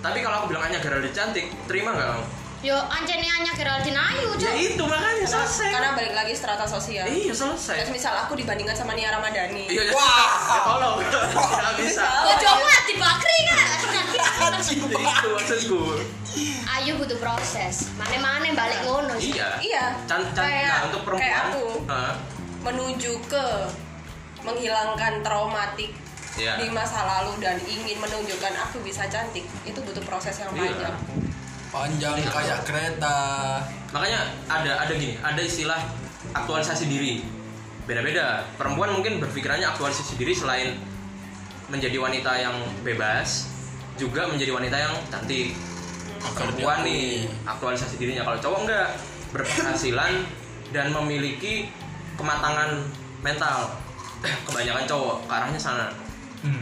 S3: tapi kalau aku bilang hanya gara cantik terima nggak kamu
S2: Yo ancene hanya Geraldine Ayu, Cuk.
S3: ya itu makanya selesai
S4: karena balik lagi strata sosial
S3: iya selesai
S4: terus misal aku dibandingkan sama Nia Ramadhani
S3: iya
S1: Wah.
S3: ya tolong nggak bisa
S2: Yo coba dibakri kan.
S3: Jadi itu maksudku
S2: Ayu butuh proses. Mana-mana balik ngono. Cuk.
S3: iya
S4: Iya.
S3: Can- can-
S4: Kayak-
S3: nah untuk perempuan
S4: kayak aku.
S3: Hah?
S4: menuju ke menghilangkan traumatik
S3: Iya.
S4: di masa lalu dan ingin menunjukkan aku bisa cantik itu butuh proses yang
S3: Iya.
S4: panjang
S1: Panjang kayak kereta.
S3: makanya ada ada gini ada istilah aktualisasi diri beda-beda perempuan mungkin berpikirannya aktualisasi diri selain menjadi wanita yang bebas juga menjadi wanita yang cantik perempuan nih aktualisasi dirinya kalau cowok enggak berpenghasilan dan memiliki kematangan mental kebanyakan cowok ke arahnya sana
S5: Hmm.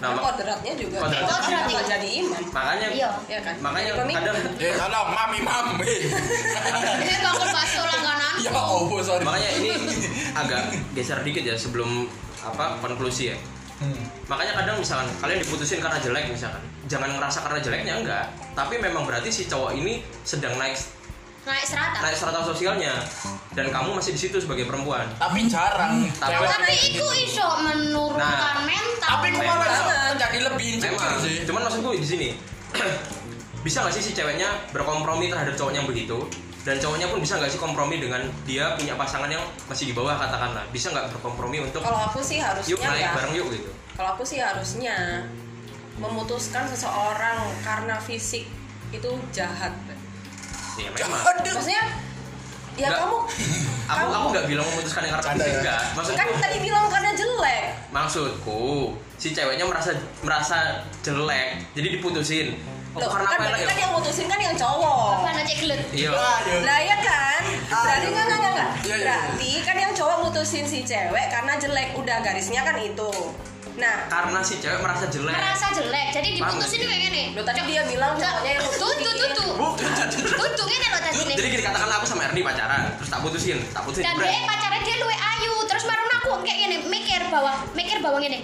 S3: nah, mak-
S4: kodratnya juga
S3: Kodratnya.
S4: kodratnya
S2: Kodratnya.
S4: nggak jadi imam
S3: makanya
S2: Iya.
S4: ya kan
S3: makanya
S4: Jadi pemimpin.
S3: kadang
S1: Eh, kalau mami mami.
S2: Eh, bangun bakso langganan.
S1: ya Allah, sorry.
S3: makanya ini agak geser dikit ya sebelum apa konklusi ya
S5: Hmm.
S3: makanya kadang misalkan kalian diputusin karena jelek misalkan jangan ngerasa karena jeleknya enggak tapi memang berarti si cowok ini sedang naik
S2: Naik serata.
S3: naik strata sosialnya dan kamu masih di situ sebagai perempuan
S1: Tapi jarang.
S3: Hmm, Tapi-
S1: cewek
S2: Tapi
S1: kayak
S2: itu
S1: gitu.
S2: iso menurunkan
S3: Nah,
S2: mental.
S1: Tapi aku malah
S3: Memang.
S1: iso menjadi lebih insecure
S3: memang
S1: sih.
S3: cuman maksudku di sini bisa nggak sih si ceweknya berkompromi terhadap cowoknya yang begitu dan cowoknya pun bisa nggak sih kompromi dengan dia punya pasangan yang masih di bawah katakanlah bisa nggak berkompromi untuk
S4: kalau aku
S3: yuk
S4: sih harusnya
S3: naik
S4: ya
S3: bareng yuk gitu
S4: kalau aku sih harusnya memutuskan seseorang karena fisik itu jahat
S3: ya
S1: Iya,
S3: memang
S1: Aduh.
S4: maksudnya ya
S3: Nggak.
S4: kamu
S3: aku
S4: kamu
S3: aku nggak bilang memutuskan yang karena
S1: Canda
S3: fisik
S1: ya.
S3: enggak
S4: kan
S3: maksudku
S4: tadi bilang karena jelek
S3: maksudku si ceweknya merasa merasa jelek jadi diputusin oh,
S4: Tuh,
S3: karena
S4: kan
S3: apa
S4: berarti
S3: enak
S4: kan
S3: ya
S4: yang mutusin kan yang cowok
S2: Apa Ah. anak gelet?
S3: iya
S1: Aduh.
S4: Lah ya kan? Berarti
S1: Aduh.
S4: enggak enggak enggak, enggak.
S1: Iya, iya.
S4: Berarti kan yang cowok mutusin si cewek karena jelek udah garisnya kan itu. Nah,
S3: karena si cewek merasa jelek
S2: Merasa jelek. Jadi diputusin
S3: Paham.
S2: kayak gini.
S4: lo tadi dia bilang cowoknya yang
S2: Tuh, tuh, tuh, tuh.
S1: Bukan.
S2: Untungnya nih lo tadi
S3: jadi
S2: nih.
S3: gini katakanlah aku sama Erni pacaran terus tak putusin tak putusin
S2: Dan
S3: jebret.
S2: dia pacarnya dia luwe ayu. Terus marun aku kayak gini mikir bawah, mikir bawah gini.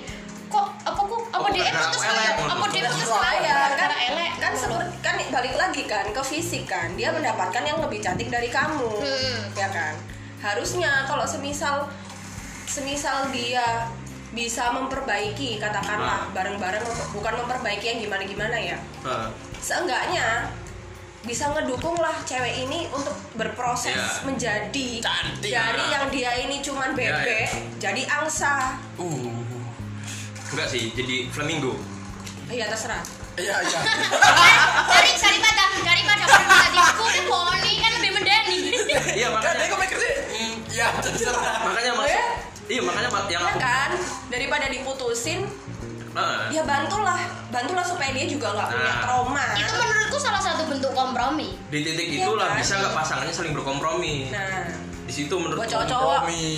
S2: Kok apa ku apa
S3: Apa
S2: dia
S3: gara-gara
S2: putus
S3: aku elek?
S2: kayak? Apa dia putus
S4: saya
S2: kayak?
S4: kan
S2: Iya. Karena elek.
S4: kan seperti kan balik lagi kan ke fisik kan dia mendapatkan yang lebih cantik dari kamu
S2: Hmm.
S4: ya kan harusnya kalau semisal semisal dia bisa memperbaiki katakanlah
S3: Ah.
S4: bareng-bareng bukan memperbaiki yang gimana-gimana ya
S3: Heeh.
S4: seenggaknya bisa ngedukung lah cewek ini untuk berproses
S3: Iya.
S4: menjadi
S1: Cantik.
S4: dari yang dia ini cuman
S3: Iya,
S4: bebek
S3: iya.
S4: jadi angsa
S1: Uh.
S3: enggak sih jadi flamingo
S4: iya terserah
S1: Iya, iya.
S2: Cari cari kata Eh, daripada orang tadi kumpul poni kan lebih mendani.
S3: iya
S1: Kan dia
S3: makanya
S1: kok mikir sih. hmm, Ya, terserah.
S3: makanya maksud
S4: Eh?
S3: iya makanya mak- yang Eh,
S4: Iya kan daripada diputusin
S3: Heeh.
S4: ya bantulah bantulah supaya dia juga nggak punya
S3: Nah.
S4: trauma
S2: Itu menurutku salah satu bentuk kompromi.
S3: di titik
S4: Iya
S3: itulah
S4: kan?
S3: bisa nggak pasangannya saling berkompromi
S4: nah
S3: di situ menurut
S4: buat cowok-cowok
S1: Kompromi.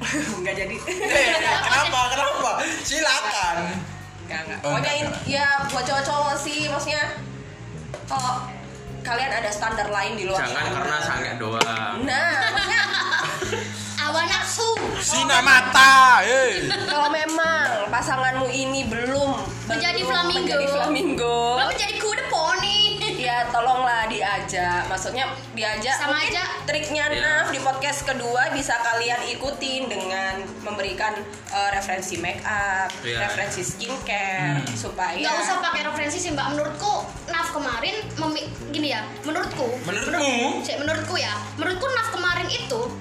S4: nggak jadi
S1: Eh, kenapa? Kenapa? Silakan.
S4: Nggak, nggak.
S1: Oh,
S4: pokoknya
S1: nggak,
S4: in- ya buat cowok-cowok sih maksudnya kalau kalian ada standar lain di luar
S3: jangan
S4: sana.
S3: karena sange doang
S4: nah maksudnya
S2: Awan nafsu.
S1: Sina mata. Hei.
S4: kalau memang pasanganmu ini belum
S2: Menjadi
S4: belum
S2: flamingo.
S4: menjadi flamingo
S3: Oh.
S2: Lo jadi kuda poni.
S4: ya tolonglah diajak maksudnya diajak
S2: Sama
S4: mungkin
S2: aja.
S4: triknya
S3: Iya.
S4: Naf di podcast kedua bisa kalian ikutin dengan memberikan eh, referensi make up
S3: Iya.
S4: referensi skincare supaya
S2: nggak usah pakai referensi sih mbak menurutku naf kemarin memi- gini ya menurutku
S1: Menurutmu?
S2: Cek, menurutku ya menurutku naf kemarin itu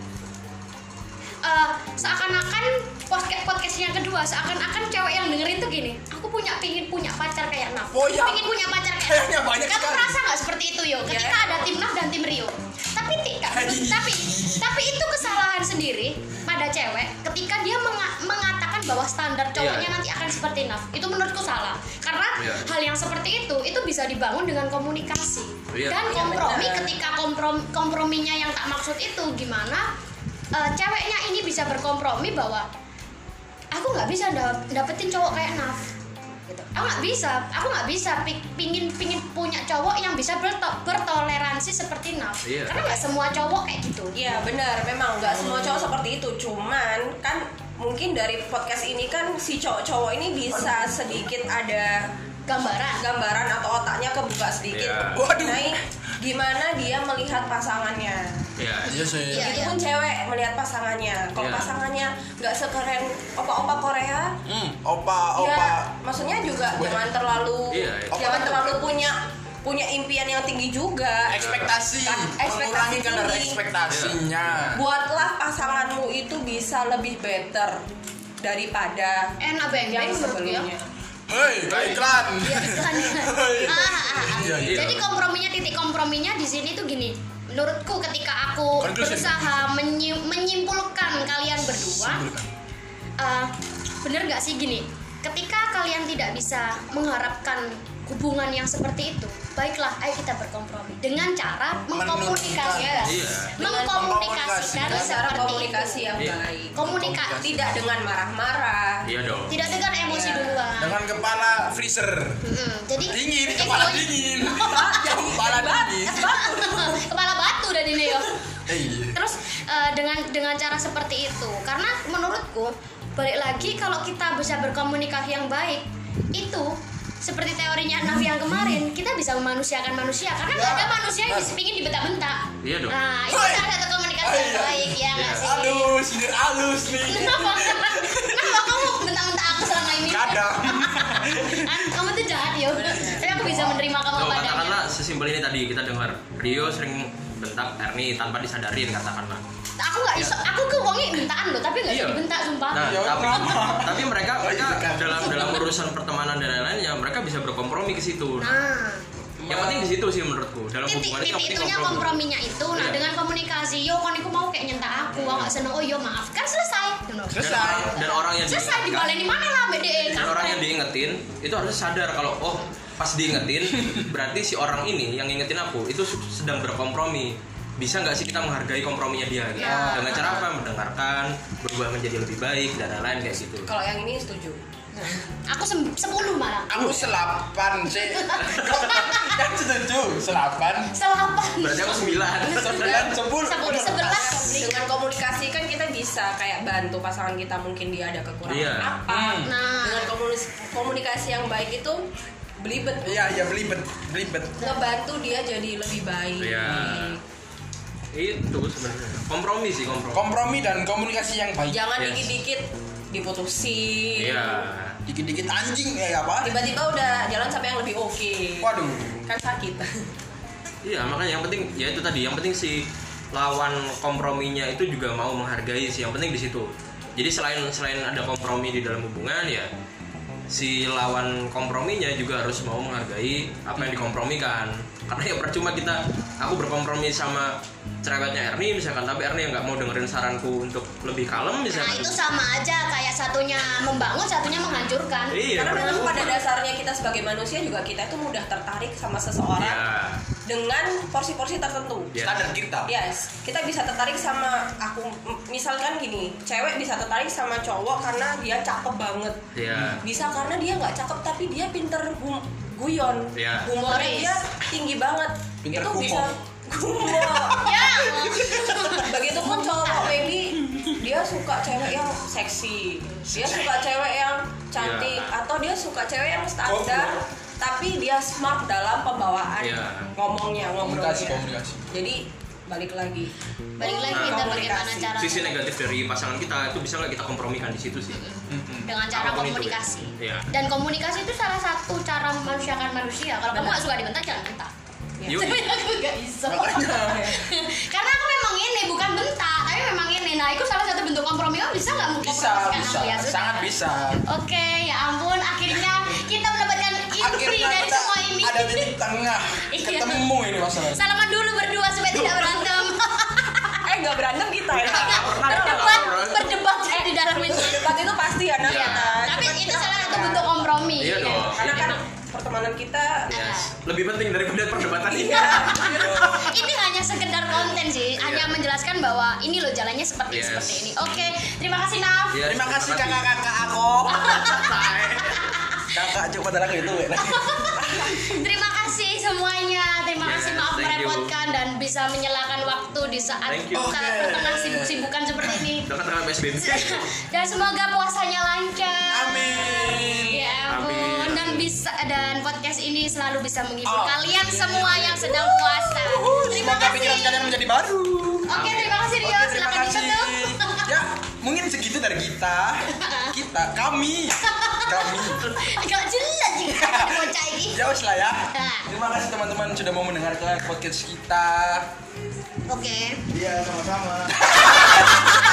S2: eh, seakan-akan podcast podcast yang kedua seakan-akan cewek yang denger itu gini aku punya pingin punya pacar kayak naf
S1: Oh, iya.
S2: Aku pingin punya pacar kayak
S1: Kayaknya
S2: Naf."
S1: banyak
S2: kamu
S1: sekali. Iya.
S2: merasa nggak seperti itu yo ketika
S4: Ya.
S2: ada tim naf dan tim rio tapi tidak
S1: Hai.
S2: tapi tapi itu kesalahan sendiri pada cewek ketika dia menga- mengatakan bahwa standar cowoknya
S3: Iya.
S2: nanti akan seperti naf itu menurutku salah karena
S3: Iya.
S2: hal yang seperti itu itu bisa dibangun dengan komunikasi
S3: Iya.
S2: dan
S4: Iya,
S2: kompromi
S4: benar.
S2: ketika komprom komprominya yang tak maksud itu gimana eh, ceweknya ini bisa berkompromi bahwa aku nggak bisa da- dapetin cowok kayak Naf gitu. aku nggak bisa aku nggak bisa pi- pingin pingin punya cowok yang bisa berto- bertoleransi seperti Naf
S3: Iya.
S2: karena nggak semua cowok kayak gitu
S4: Iya benar, memang nggak semua cowok seperti itu. Cuman kan mungkin dari podcast ini kan si cowok-cowok ini bisa sedikit ada
S2: gambaran
S4: gambaran atau otaknya kebuka sedikit
S3: Iya.
S1: Waduh.
S4: mengenai gimana dia melihat pasangannya.
S3: ya
S1: Iya sih.
S2: Iya.
S4: Itu pun cewek melihat pasangannya. Kalau
S3: Iya.
S4: pasangannya nggak sekeren opa-opa Korea,
S1: Hmm, opa, opa.
S4: ya maksudnya juga
S1: Weh.
S4: jangan terlalu
S3: Iya, iya.
S4: jangan
S1: Opa-
S4: terlalu punya punya impian yang tinggi juga.
S3: Iya.
S1: Ekspektasi.
S4: Kan, ekspektasi
S1: Mengurangi kadar
S4: tinggi.
S1: ekspektasinya.
S4: buatlah pasanganmu itu bisa lebih better daripada
S2: enak beng
S4: yang
S2: beng
S4: sebelumnya.
S1: Hei, iklan.
S2: Iya, iklan. Ah, ah, ah.
S1: Iya,
S3: iya.
S2: Jadi komprominya titik komprominya di sini tuh gini. menurutku ketika aku
S1: Conclusion.
S2: berusaha menyi- menyimpulkan kalian berdua eh, bener nggak sih gini ketika kalian tidak bisa mengharapkan hubungan yang seperti itu baiklah ayo kita berkompromi dengan cara mengkomunikasikan
S1: Iya.
S4: Dengan
S2: mengkomunikasikan
S4: Dengan cara
S2: seperti
S4: komunikasi
S2: itu
S4: yang
S3: Iya.
S4: baik.
S2: komunikasi
S4: Tidak dengan marah-marah.
S3: iya dong
S2: tidak dengan emosi
S4: Iya.
S2: duluan
S1: dengan kepala freezer
S2: Mm-mm. jadi
S1: dingin
S2: egois-
S1: kepala dingin kepala dingin
S2: kepala batu dan ini yo
S1: Eh, iya.
S2: terus eh, dengan dengan cara seperti itu karena menurutku balik lagi kalau kita bisa berkomunikasi yang baik itu seperti teorinya Nafi yang kemarin kita bisa memanusiakan manusia karena nggak ada manusia yang bisa pingin dibentak-bentak
S3: Ya. Iya dong.
S2: nah itu
S1: Woi.
S2: salah satu komunikasi yang
S1: Iya.
S2: baik ya nggak sih
S1: aduh sindir halus nih
S2: kenapa kenapa kamu bentak-bentak aku selama ini
S1: kadang
S2: Kan, kamu tuh jahat yo tapi aku bisa menerima kamu
S3: Tuh,
S2: apa adanya
S3: katakanlah sesimpel ini tadi kita dengar Rio sering bentak Erni tanpa disadarin katakanlah
S2: aku nggak iso aku ke wongi bentaan loh tapi nggak bisa
S3: Iya.
S2: dibentak sumpah
S3: Nah,
S1: Ya,
S3: tapi
S1: lama.
S3: tapi mereka
S1: Oh, iya,
S3: mereka
S1: kan.
S3: dalam dalam urusan pertemanan dan lain-lain ya mereka bisa berkompromi ke situ.
S2: nah
S3: yang penting di situ sih menurutku dalam
S2: titik
S3: hubungan itu
S2: titik
S3: yang penting
S2: itunya
S3: kompromi.
S2: komprominya itu nah
S3: Iya.
S2: dengan komunikasi yo kan aku mau kayak nyentak aku aku nggak seneng oh yo maaf kan selesai Gitu loh.
S3: Dan
S1: Selesai.
S3: orang, dan orang yang
S2: selesai
S3: diingatkan-
S2: dibaleni mana lah BDE
S3: dan orang yang diingetin itu harus sadar kalau oh pas diingetin berarti si orang ini yang ngingetin aku itu su- sedang berkompromi bisa nggak sih kita menghargai komprominya dia gitu
S2: Ya.
S3: dengan cara apa mendengarkan berubah menjadi lebih baik dan lain-lain kayak gitu
S4: Kalau yang ini setuju.
S2: aku sem- sepuluh malah
S1: aku selapan sih kan setuju selapan
S2: selapan
S3: berarti aku sembilan
S1: sembilan sepuluh
S2: sepuluh sebelas
S4: Dengan komunikasi kan kita bisa kayak bantu pasangan kita mungkin dia ada kekurangan
S3: Iya.
S4: apa.
S2: nah
S4: Dengan komunis- komunikasi yang baik itu belibet
S1: iya iya belibet belibet
S4: ngebantu dia jadi lebih baik.
S3: Iya. itu sebenarnya kompromi sih kompromi
S1: kompromi dan komunikasi yang baik
S4: Jangan
S3: Yes.
S4: dikit-dikit diputusin.
S3: iya
S1: dikit-dikit anjing ya apa
S4: Tiba-tiba udah jalan sampai yang lebih oke.
S1: waduh
S4: Kan sakit.
S3: iya makanya yang penting ya itu tadi yang penting si lawan komprominya itu juga mau menghargai sih yang penting di situ jadi selain selain ada kompromi di dalam hubungan ya si lawan komprominya juga harus mau menghargai apa yang dikompromikan karena ya percuma kita aku berkompromi sama cerewetnya Erni misalkan tapi Erni yang nggak mau dengerin saranku untuk lebih kalem
S2: nah
S3: misalkan
S2: itu sama aja kayak satunya membangun satunya menghancurkan
S3: iya
S4: Karena memang
S3: percuma.
S4: pada dasarnya kita sebagai manusia juga kita itu mudah tertarik sama seseorang
S3: Iya.
S4: dengan porsi-porsi tertentu.
S3: Iya.
S1: standar kita
S4: Yes, kita bisa tertarik sama aku m- misalkan gini, cewek bisa tertarik sama cowok karena dia cakep banget.
S3: Iya.
S4: Bisa karena dia nggak cakep tapi dia pinter gu- guyon.
S3: Iya.
S4: Humornya
S2: Humoris.
S4: dia tinggi banget.
S1: Pinter
S4: Itu
S1: gumo.
S4: bisa gumo.
S2: ya
S3: Iya.
S4: Begitupun cowok maybe dia suka cewek yang seksi. Dia suka cewek yang cantik
S3: Iya.
S4: atau dia suka cewek yang standar tapi dia smart dalam pembawaan
S3: Iya.
S4: ngomongnya, ngobrolnya.
S1: komunikasi komunikasi
S4: Jadi balik lagi.
S2: balik lagi kita bagaimana
S4: Komunikasi.
S2: cara
S3: sisi negatif dari pasangan kita itu bisa nggak kita kompromikan di situ sih
S2: dengan cara
S3: Apapun itu,
S2: komunikasi
S3: ya. Iya.
S2: dan komunikasi itu salah satu cara memanusiakan manusia kalau kamu
S4: Benar.
S2: nggak suka dibentak jangan bentak
S3: Yuk.
S2: tapi aku nggak iso
S1: makanya
S2: karena aku memang ini bukan bentak tapi memang ini nah itu salah satu bentuk kompromi kamu bisa nggak
S1: bisa
S2: mengkompromiskan
S1: bisa
S2: aku ya sudah.
S1: sangat bisa
S2: oke ya ampun akhirnya kita mendapatkan inti
S1: akhirnya
S2: dari
S1: kita
S2: semua ini
S1: ada di tengah
S2: Iya.
S1: ketemu ini masalahnya
S2: salaman dulu berdua supaya tidak berantem
S4: eh nggak berantem kita ya
S2: berdebat berdebat di dalam itu
S4: debat itu pasti ya Nat,
S3: Iya.
S4: kita.
S2: tapi
S4: Cuman
S2: itu
S4: kita
S2: salah
S1: ya.
S2: satu
S4: nggak.
S2: bentuk kompromi
S3: Iya
S2: kan?
S3: dong.
S4: karena kan pertemanan kita
S3: Yes. Lebih penting daripada perdebatan ini.
S2: ini hanya sekedar konten sih, hanya menjelaskan bahwa ini loh jalannya seperti
S3: Iya. Yes.
S2: seperti ini. Oke, terima kasih Naf.
S3: Iya,
S1: terima kasih kakak-kakak aku kakak coba darah itu weh.
S2: Terima kasih semuanya. Terima
S3: Yes,
S2: kasih maaf
S3: Ya, thank you.
S2: merepotkan dan bisa menyalakan waktu di saat
S3: Thank you.
S2: kita
S1: Oke.
S2: tengah sibuk-sibukan seperti ini.
S3: Dekat-dekat PSBB.
S2: Dan semoga puasanya lancar.
S1: amin
S2: Ya ampun
S3: Amin.
S2: dan bisa dan podcast ini selalu bisa menghibur
S1: Oh.
S2: kalian semua yang sedang puasa. Terima
S1: semoga pikiran
S2: kasih.
S1: kalian menjadi baru
S2: Oke, terima kasih Rio.
S1: Oke, terima
S2: Silakan
S1: kasih.
S2: ditutup.
S1: Ya, mungkin segitu dari kita. Kita, kami, kami.
S2: Agak jelas juga bocah ini.
S1: Ya wes lah ya.
S2: Nah.
S1: Terima kasih teman-teman sudah mau mendengarkan podcast kita.
S2: Oke.
S1: Iya, sama-sama.